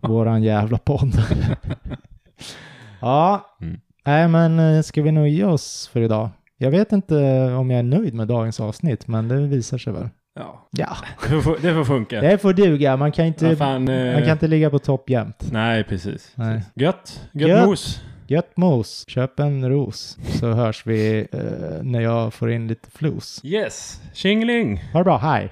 Speaker 2: Våran jävla podd. Ja,
Speaker 1: Mm.
Speaker 2: nej men eh, ska vi nöja oss för idag? Jag vet inte om jag är nöjd med dagens avsnitt, men det visar sig väl.
Speaker 1: Ja,
Speaker 2: Ja,
Speaker 1: det får, det får funka.
Speaker 2: det får duga. Man kan inte,
Speaker 1: Vad fan, eh,
Speaker 2: man kan inte ligga på topp jämt.
Speaker 1: Nej, precis.
Speaker 2: Nej.
Speaker 1: precis. Gött. Gött,
Speaker 2: Gött.
Speaker 1: mos.
Speaker 2: Gött mos, köp en ros så hörs vi eh, när jag får in lite flos.
Speaker 1: Yes. Tjingeling.
Speaker 2: Ha det bra, hej!